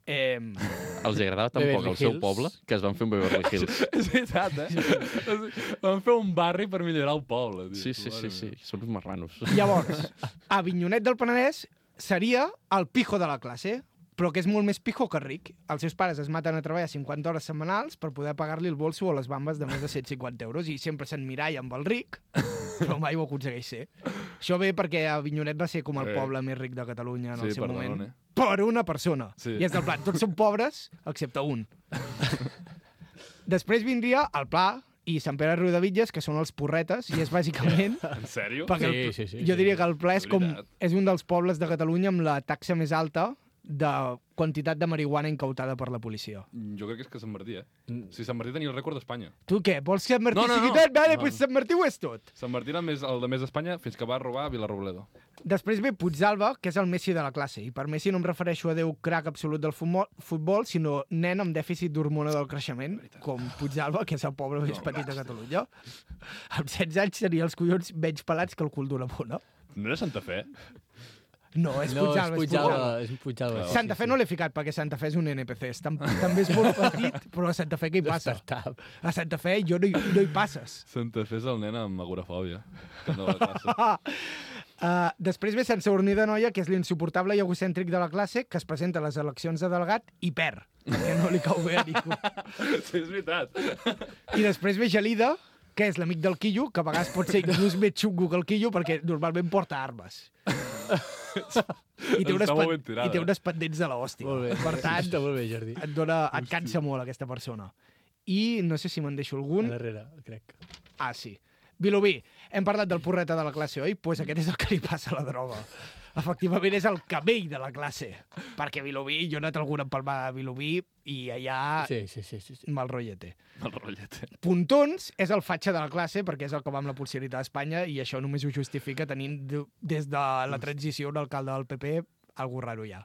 S5: Eh,
S3: Els hi agradava tan
S1: Beverly
S3: poc el seu
S1: Hills.
S3: poble que es van fer un Beverly Hills.
S2: És veritat, eh? O sigui, Van fer un barri per millorar el poble. tio.
S3: Sí, sí, sí,
S2: Mare
S3: sí.
S2: meva.
S3: Són uns marranos.
S5: llavors, a Vinyonet del Penedès seria el pijo de la classe, però que és molt més pijo que ric. Els seus pares es maten a treballar 50 hores setmanals per poder pagar-li el bolso o les bambes de més de 150 euros i sempre s'enmiralla amb el ric, però mai ho aconsegueix ser. Això ve perquè a Vinyonet va ser com el
S2: Eh.
S5: poble més ric de Catalunya en
S2: Sí,
S5: el seu
S2: perdona,
S5: moment.
S2: eh?
S5: Per una persona.
S2: Sí.
S5: I és del plan, tots són pobres, excepte un. Després vindria el Pla i Sant Pere Riudevitlles, que són els porretes, i és bàsicament
S2: En sèrio?
S5: perquè
S1: Sí,
S5: el,
S1: sí, sí,
S5: jo
S1: sí.
S5: diria que el Pla és, com,
S2: Veritat.
S5: és un dels pobles de Catalunya amb la taxa més alta de quantitat de marihuana incautada per la policia.
S2: Jo crec que és que Sant Martí, eh? Si Sant Martí tenia el rècord d'Espanya.
S5: Tu què? Vols que Sant Martí
S2: No, no,
S5: sigui
S2: no.
S5: tal? Vale, pues Sant Martí ho és tot.
S2: Sant Martí era més, el de més d'Espanya fins que va robar a Vilarrobledo.
S5: Després ve Puigdalba, que és el Messi de la classe. I per Messi no em refereixo a Déu crac absolut del fumo- futbol, sinó nen amb dèficit d'hormona del creixement, com Puigdalba, que és el poble més petit de Catalunya. Amb 16 anys seria els collons menys pelats que el cul d'una bona.
S2: No era Santa Fe?
S5: No, és
S1: no,
S5: Puigdalba,
S1: és Puigdalba. És Puigdalba.
S2: Oh,
S5: Santa Fe no l'he ficat perquè Santa Fe és un NPC. És tam també és molt petit, però a Santa Fe què hi passa?
S1: Startup.
S5: A Santa Fe jo no hi, no hi passes.
S2: Santa Fe és el nen amb agorafòbia. Que no va a classe.
S5: Ah, Uh, després ve Sant Sadurní de Noia, que és l'insuportable i egocèntric de la classe, que es presenta a les eleccions de delegat i perd, perquè no li cau bé a ningú.
S2: sí, és veritat.
S5: I després ve Gelida, que és l'amic del Quillo, que a vegades pot ser inclús més xungo que el Quillo, perquè normalment porta armes. I té, unes
S2: Està molt ben
S5: pen-
S2: tirada,
S5: I té
S2: eh?
S5: unes pendents de l'hòstia.
S1: Molt bé.
S5: Per tant,
S1: Està molt bé, Jordi.
S5: et, dona, et cansa molt aquesta persona. I no sé si me'n deixo
S1: A
S5: algun.
S1: darrere, crec.
S5: Ah, sí. Vilobí, hem parlat del porreta de la classe, oi? Doncs pues aquest és el que li passa a la droga. Efectivament, és el camell de la classe. Perquè Vilobí, jo he anat a alguna empalmada a Vilobí i allà sí.
S1: Sí, sí, sí. sí, sí.
S5: mal eh? rotllete.
S2: El rotllet.
S5: Puntons és el fatxa de la classe perquè és el que va amb la polseritat d'Espanya i això només ho justifica tenint de- des de la transició un alcalde del PP algú raro ja.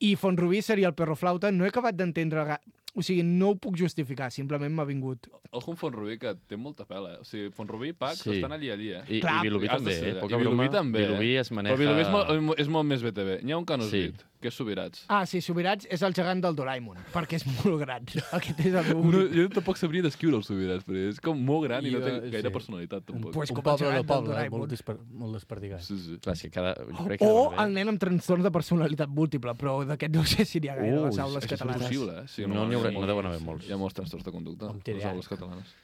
S5: I Fontrubí seria el perro flauta. No he acabat d'entendre... ga- O sigui, no ho puc justificar, simplement m'ha vingut.
S2: Ojo amb Fontrubí, que té molta pela, eh? O sigui, Fontrubí i Pax
S3: Sí.
S2: estan allí, allí, eh?
S3: I, i
S5: Clar.
S3: Vilobí
S2: Has de
S3: també,
S2: ser
S3: eh?
S2: de-
S3: Poca
S2: I Vilobí
S3: broma.
S2: també, eh?
S3: Vilobí es maneja...
S2: Però Vilobí és molt, és molt més BTV. N'hi ha un que no has
S3: Sí.
S2: dit, que és Subirats.
S5: Ah, sí, Subirats és el gegant del Doraemon, perquè és molt gran. Aquest és el meu
S2: No,
S5: únic...
S2: jo tampoc sabria descriure el Subirats, perquè és com molt gran i, no
S1: Jo,
S2: té
S1: sí.
S2: gaire personalitat, tampoc.
S5: Pues
S1: un
S5: com el
S1: poble de
S5: gegant del
S1: poble, eh?
S5: Doraemon.
S1: molt, desper, molt desperdigat.
S2: Sí, sí.
S3: Clar, és que cada... Jo crec que eh?
S5: O
S3: cada
S5: el nen amb trastorn de personalitat múltiple, però d'aquest no sé si n'hi ha gaire a les
S3: Ui,
S5: aules
S2: Això és
S5: catalanes.
S2: possible, eh? Sí,
S3: No n'hi haurà-
S2: hi ha
S3: no deuen
S2: molts-
S3: haver molts.
S2: Hi ha molts trastorns de conducta
S1: Com
S2: a les
S1: TDAH.
S2: aules catalanes.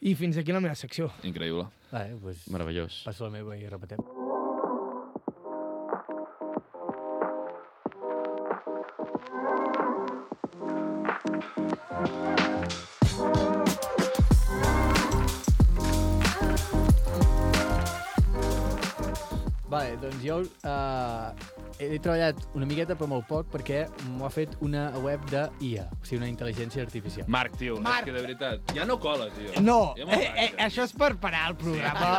S5: I fins aquí la meva secció.
S2: Increïble.
S1: Vale, eh, pues,
S3: Meravellós.
S1: passo la meva i repetem. Vale, doncs jo uh, he treballat una miqueta però molt poc perquè m'ho ha fet una web de IA, o sigui, una intel·ligència artificial.
S2: Marc, tio,
S5: Marc.
S2: és que de veritat, ja no cola, tio.
S5: No,
S2: ja
S5: eh, eh, això és per parar el programa.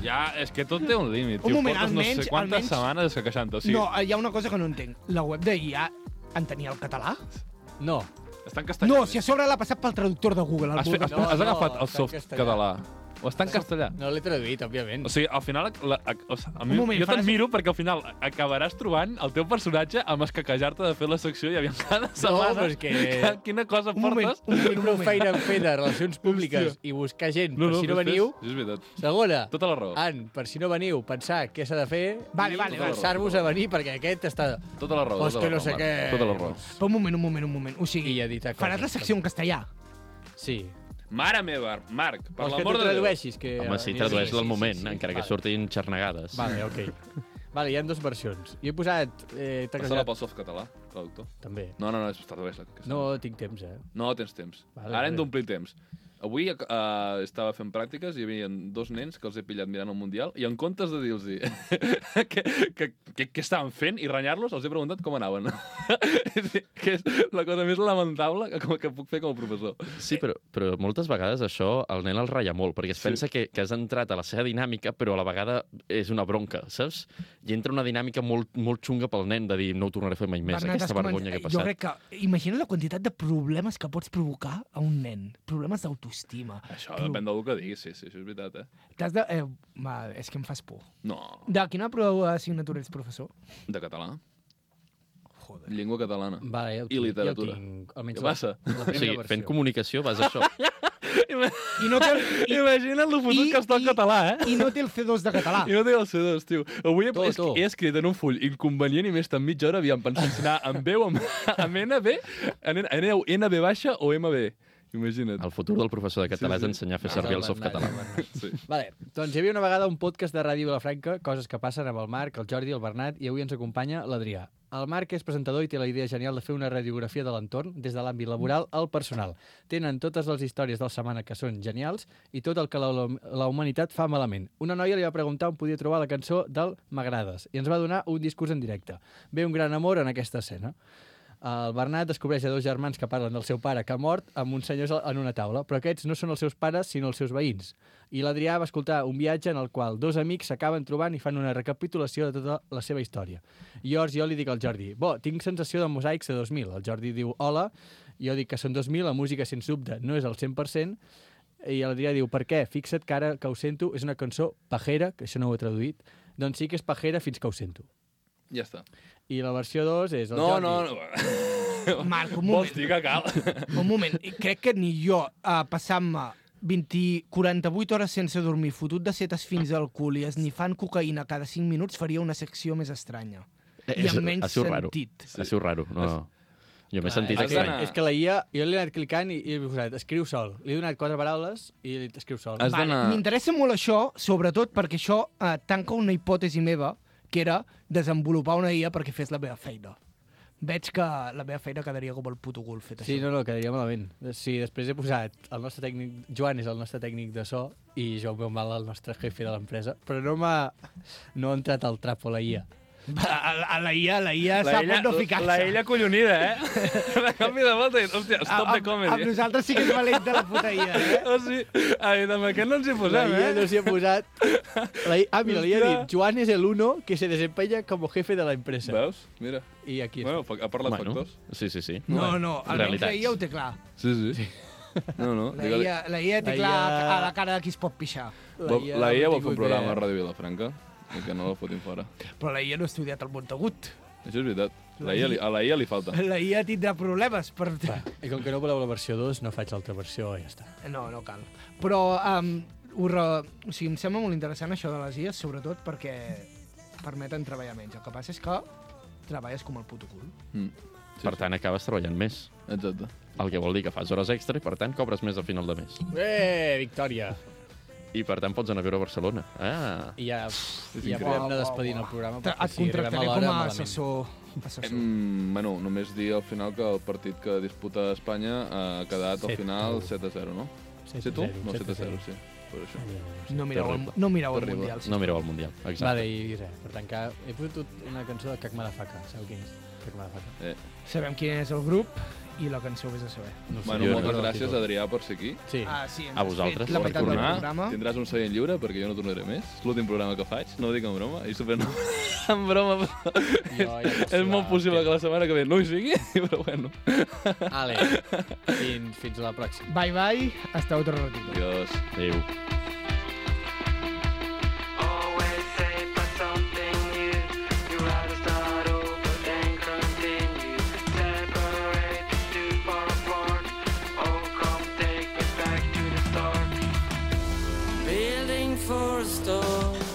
S2: Ja, és que tot té un límit,
S5: Un
S2: tio.
S5: moment,
S2: Portes no
S5: almenys-
S2: sé quantes
S5: almenys-
S2: setmanes que queixant O
S5: Sí.
S2: sigui,
S5: No, eh, hi ha una cosa que no entenc. La web de IA en tenia el català?
S1: No,
S2: està en castellà.
S5: No, si a sobre l'ha passat pel traductor de Google. El
S2: Has, fet, has,
S1: No,
S2: has
S1: no,
S2: agafat el
S1: està en
S2: soft
S1: castellà.
S2: català. O està en castellà.
S1: no l'he traduït, òbviament.
S2: O sigui, al final... La, a, o sigui, a mi,
S5: Un moment,
S2: jo te'n
S5: faràs-
S1: eh?
S2: miro perquè al final acabaràs trobant el teu personatge amb escaquejar-te de fer la secció i aviam cada setmana
S1: però és que-
S2: quina cosa
S5: Un moment,
S2: portes.
S5: un moment, un
S1: Una
S5: moment.
S1: feina feta de relacions públiques i buscar gent no, no, per si no
S2: però és-
S1: veniu. Ah,
S2: És veritat.
S1: Segona,
S2: Tota la raó.
S1: An, per si no veniu, pensar què s'ha de fer
S5: Vale,
S1: i
S5: vale, vale.
S1: forçar-vos a venir perquè aquest està...
S2: Tota la tota raó.
S1: Pues
S2: tota
S1: que
S2: la
S1: no
S2: raó,
S1: sé
S2: Marc.
S1: què.
S2: Tota la raó.
S5: Però un moment, un moment, un moment. O sigui,
S1: I editar
S5: faràs
S1: coses,
S5: la secció en castellà?
S1: Sí.
S2: Mare meva, Marc, per
S1: Vols que
S2: l'amor
S1: t'ho
S2: de Déu.
S1: tradueixis? Que...
S3: Home,
S1: Sí,
S3: sí, tradueix-lo al
S1: sí, sí,
S3: moment, eh,
S1: sí, sí.
S3: encara que
S1: Vale.
S3: surtin xarnegades.
S1: Vale, ok. Vale, hi ha dues versions. Jo he posat... Eh, t'he
S2: Passa-la
S1: casat-
S2: pel soft català, traductor.
S1: També.
S2: No, no, no, és tradueix-la. que és-
S1: No tinc temps, eh?
S2: No tens temps.
S1: Vale,
S2: Vale, Ara hem
S1: vale.
S2: d'omplir temps. Avui uh, estava fent pràctiques i hi havia dos nens que els he pillat mirant el Mundial i en comptes de dir-los què que, que, que estaven fent i renyar-los, els he preguntat com anaven. És a dir, que és la cosa més lamentable que, com- que puc fer com a professor.
S3: Sí, però, però moltes vegades això el nen el ratlla molt, perquè es pensa que, que has entrat a la seva dinàmica, però a la vegada és una bronca, saps? I entra una dinàmica molt, molt xunga pel nen de dir no ho tornaré a fer mai més,
S5: Bernat, has
S3: aquesta
S5: comen-
S3: vergonya que he
S5: Jo
S3: passat.
S5: crec que... Imagina la quantitat de problemes que pots provocar a un nen. Problemes d'autoestima.
S2: Això
S5: Però-
S2: depèn del que diguis, sí, sí, això és veritat, eh?
S5: T'has de... Eh, va, és que em fas por.
S2: No,
S5: De quina prova d'assignatura ets professor?
S2: de català.
S5: Joder.
S2: Llengua catalana.
S1: Vale, ja ho
S2: I
S1: tinc,
S2: literatura.
S1: Ja ho tinc, almenys
S2: Què
S1: la-
S2: passa?
S1: La
S3: O
S1: primera
S3: sigui,
S1: versió.
S3: fent comunicació vas a això.
S5: I no té el, i,
S2: Imagina't lo fotut
S5: I-
S2: que està en
S5: i-
S2: català, eh?
S5: i no té el C2 de català.
S2: I no té el C2, tio. Avui he,
S1: To,
S2: he,
S1: to.
S2: he escrit en un full inconvenient i més tan mitja hora havíem pensat si anar amb veu, amb, amb NB, en, en, en NB baixa o MB. Imagina't.
S3: El futur del professor de català
S2: Sí, sí.
S3: és ensenyar a fer
S1: Ah,
S3: servir
S1: el
S3: el soft
S1: Bernat,
S3: català.
S1: el Bernat.
S2: Sí.
S1: Vale, doncs hi havia una vegada un podcast de Ràdio Vilafranca, coses que passen amb el Marc, el Jordi, el Bernat, i avui ens acompanya l'Adrià. El Marc és presentador i té la idea genial de fer una radiografia de l'entorn, des de l'àmbit laboral al personal. Tenen totes les històries de la setmana que són genials i tot el que la, la humanitat fa malament. Una noia li va preguntar on podia trobar la cançó del M'agrades i ens va donar un discurs en directe. Ve un gran amor en aquesta escena. El Bernat descobreix a dos germans que parlen del seu pare que ha mort amb uns senyors en una taula, però aquests no són els seus pares, sinó els seus veïns. I l'Adrià va escoltar un viatge en el qual dos amics s'acaben trobant i fan una recapitulació de tota la seva història. I llavors jo li dic al Jordi, bo, tinc sensació de mosaics de 2000. El Jordi diu, hola, jo dic que són 2000, la música, sens dubte, no és el 100%, i l'Adrià diu, per què? Fixa't que ara que ho sento és una cançó pajera, que això no ho he traduït, doncs sí que és pajera fins que ho sento.
S2: Ja està.
S1: I la versió 2 és el
S2: No,
S1: Jordi.
S2: no, no.
S5: Marc,
S2: Vols
S5: un moment.
S2: dir que cal?
S5: Un moment, I crec que ni jo, a passant-me 20, 48 hores sense dormir, fotut de setes fins al cul i esnifant cocaïna cada 5 minuts, faria una secció més estranya. I
S3: Eh, És-
S5: amb menys
S3: ha sigut raro.
S5: sentit.
S3: Ha sigut raro, no. Jo m'he
S1: Clar,
S3: sentit
S1: és,
S3: estrany.
S1: que, és que la IA, jo li he anat clicant i, i he posat, escriu sol. Li he donat quatre paraules i li escriu sol.
S2: Has
S5: Vale,
S2: d'anar-
S5: M'interessa molt això, sobretot perquè això eh, tanca una hipòtesi meva, que era desenvolupar una IA perquè fes la meva feina. Veig que la meva feina quedaria com el puto gul fet
S1: Sí,
S5: això.
S1: no, no, quedaria malament. Sí, després he posat el nostre tècnic... Joan és el nostre tècnic de so i jo veu mal el nostre jefe de l'empresa, però no m'ha... no ha entrat al trapo la IA.
S5: Va, a, a la IA, la IA s'ha pot no ficar-se.
S2: la ella collonida, eh? De canvi de volta, i, hòstia, stop de
S5: Amb, amb
S2: comedy.
S5: nosaltres sí que és valent de la puta IA, eh?
S2: O sigui, ai, amb aquest no ens hi
S1: La
S2: posem,
S1: IA no
S2: eh?
S1: s'hi ha posat... La IA... Ah, mira, la IA ha
S2: Hòstia.
S1: dit Joan és el uno que se desempeña como jefe de la empresa.
S2: Veus? Mira.
S1: I aquí està.
S2: Bueno, fa- ha parlat
S3: Bueno,
S2: factors.
S3: sí, sí, sí.
S5: No, no, almenys la
S3: Realitats.
S5: IA ho té clar.
S2: Sí, sí. No, no.
S5: La IA, la IA té
S1: La
S5: clar
S1: IA-
S5: a la cara de qui es pot pixar.
S2: Vol- La IA
S1: no
S2: vol fer un
S1: tingut
S2: programa a
S1: idea.
S2: Ràdio Vilafranca i que no la fotin fora.
S5: Però la IA no ha estudiat el Montagut.
S2: Això és veritat. La IA, li- a la IA li falta.
S5: La IA tindrà problemes per...
S1: I com que no voleu la versió 2, no faig l'altra versió, ja està.
S5: No, no cal. Però um, ho re... o sigui, em sembla molt interessant això de les IAs, sobretot perquè permeten treballar menys. El que passa és que treballes com el puto cul.
S2: Mm.
S3: Per tant, acabes treballant més.
S2: Exacte.
S3: El que vol dir que fas hores extra i, per tant, cobres més al final de mes.
S1: Eh, victòria!
S3: I, per tant, pots anar a viure a Barcelona. Ah,
S1: I ja,
S2: és
S1: i ja
S2: increïble.
S1: podem anar
S5: Uau,
S1: despedint
S5: uau,
S1: el programa.
S5: Te-
S1: perquè
S5: Et
S1: si arribem a
S5: contractaré
S1: l'hora,
S5: com a
S1: malament.
S5: assessor. assessor.
S2: Mm, bueno, només dir al final que el partit que disputa Espanya eh, ha quedat al
S1: Set.
S2: final 7 a 0, no?
S1: Set a
S2: 7 tu?
S1: zero,
S2: No,
S1: set a
S2: 7 a
S1: zero.
S2: 0, sí. Per això.
S5: No mireu, el,
S3: terrible.
S5: no mireu el
S2: Terrible.
S5: Mundial. Sí.
S3: no mireu el Mundial. Exacte.
S1: Vale, i res, per tancar, he fotut una cançó de Cac Malafaca, sabeu quin és? Cac Malafaca.
S5: Sabem quin és el grup i la cançó vés a saber.
S1: No ho sé.
S2: Bueno,
S3: Jo no
S2: moltes
S1: recordo el
S2: gràcies,
S1: títol.
S2: Adrià, per ser aquí.
S1: Sí, ah,
S5: sí, ens
S3: A
S5: has
S3: vosaltres,
S5: fet la
S3: per
S5: meitat del
S3: tornar.
S5: programa.
S2: tindràs un seient lliure perquè jo no tornaré més. És l'últim programa que faig, no ho dic en broma, i super no. en broma, però
S1: jo ja puc
S2: és molt
S1: suar.
S2: possible que la setmana que ve no hi sigui, però bueno.
S1: Ale, fins, fins la pròxima.
S5: Bye bye, hasta otro ratito.
S2: Adiós.
S3: Adéu.
S8: Always say for something new. You rather start over than continue. Separate the two far apart. Oh, come take me back to the start. Building for a storm. oh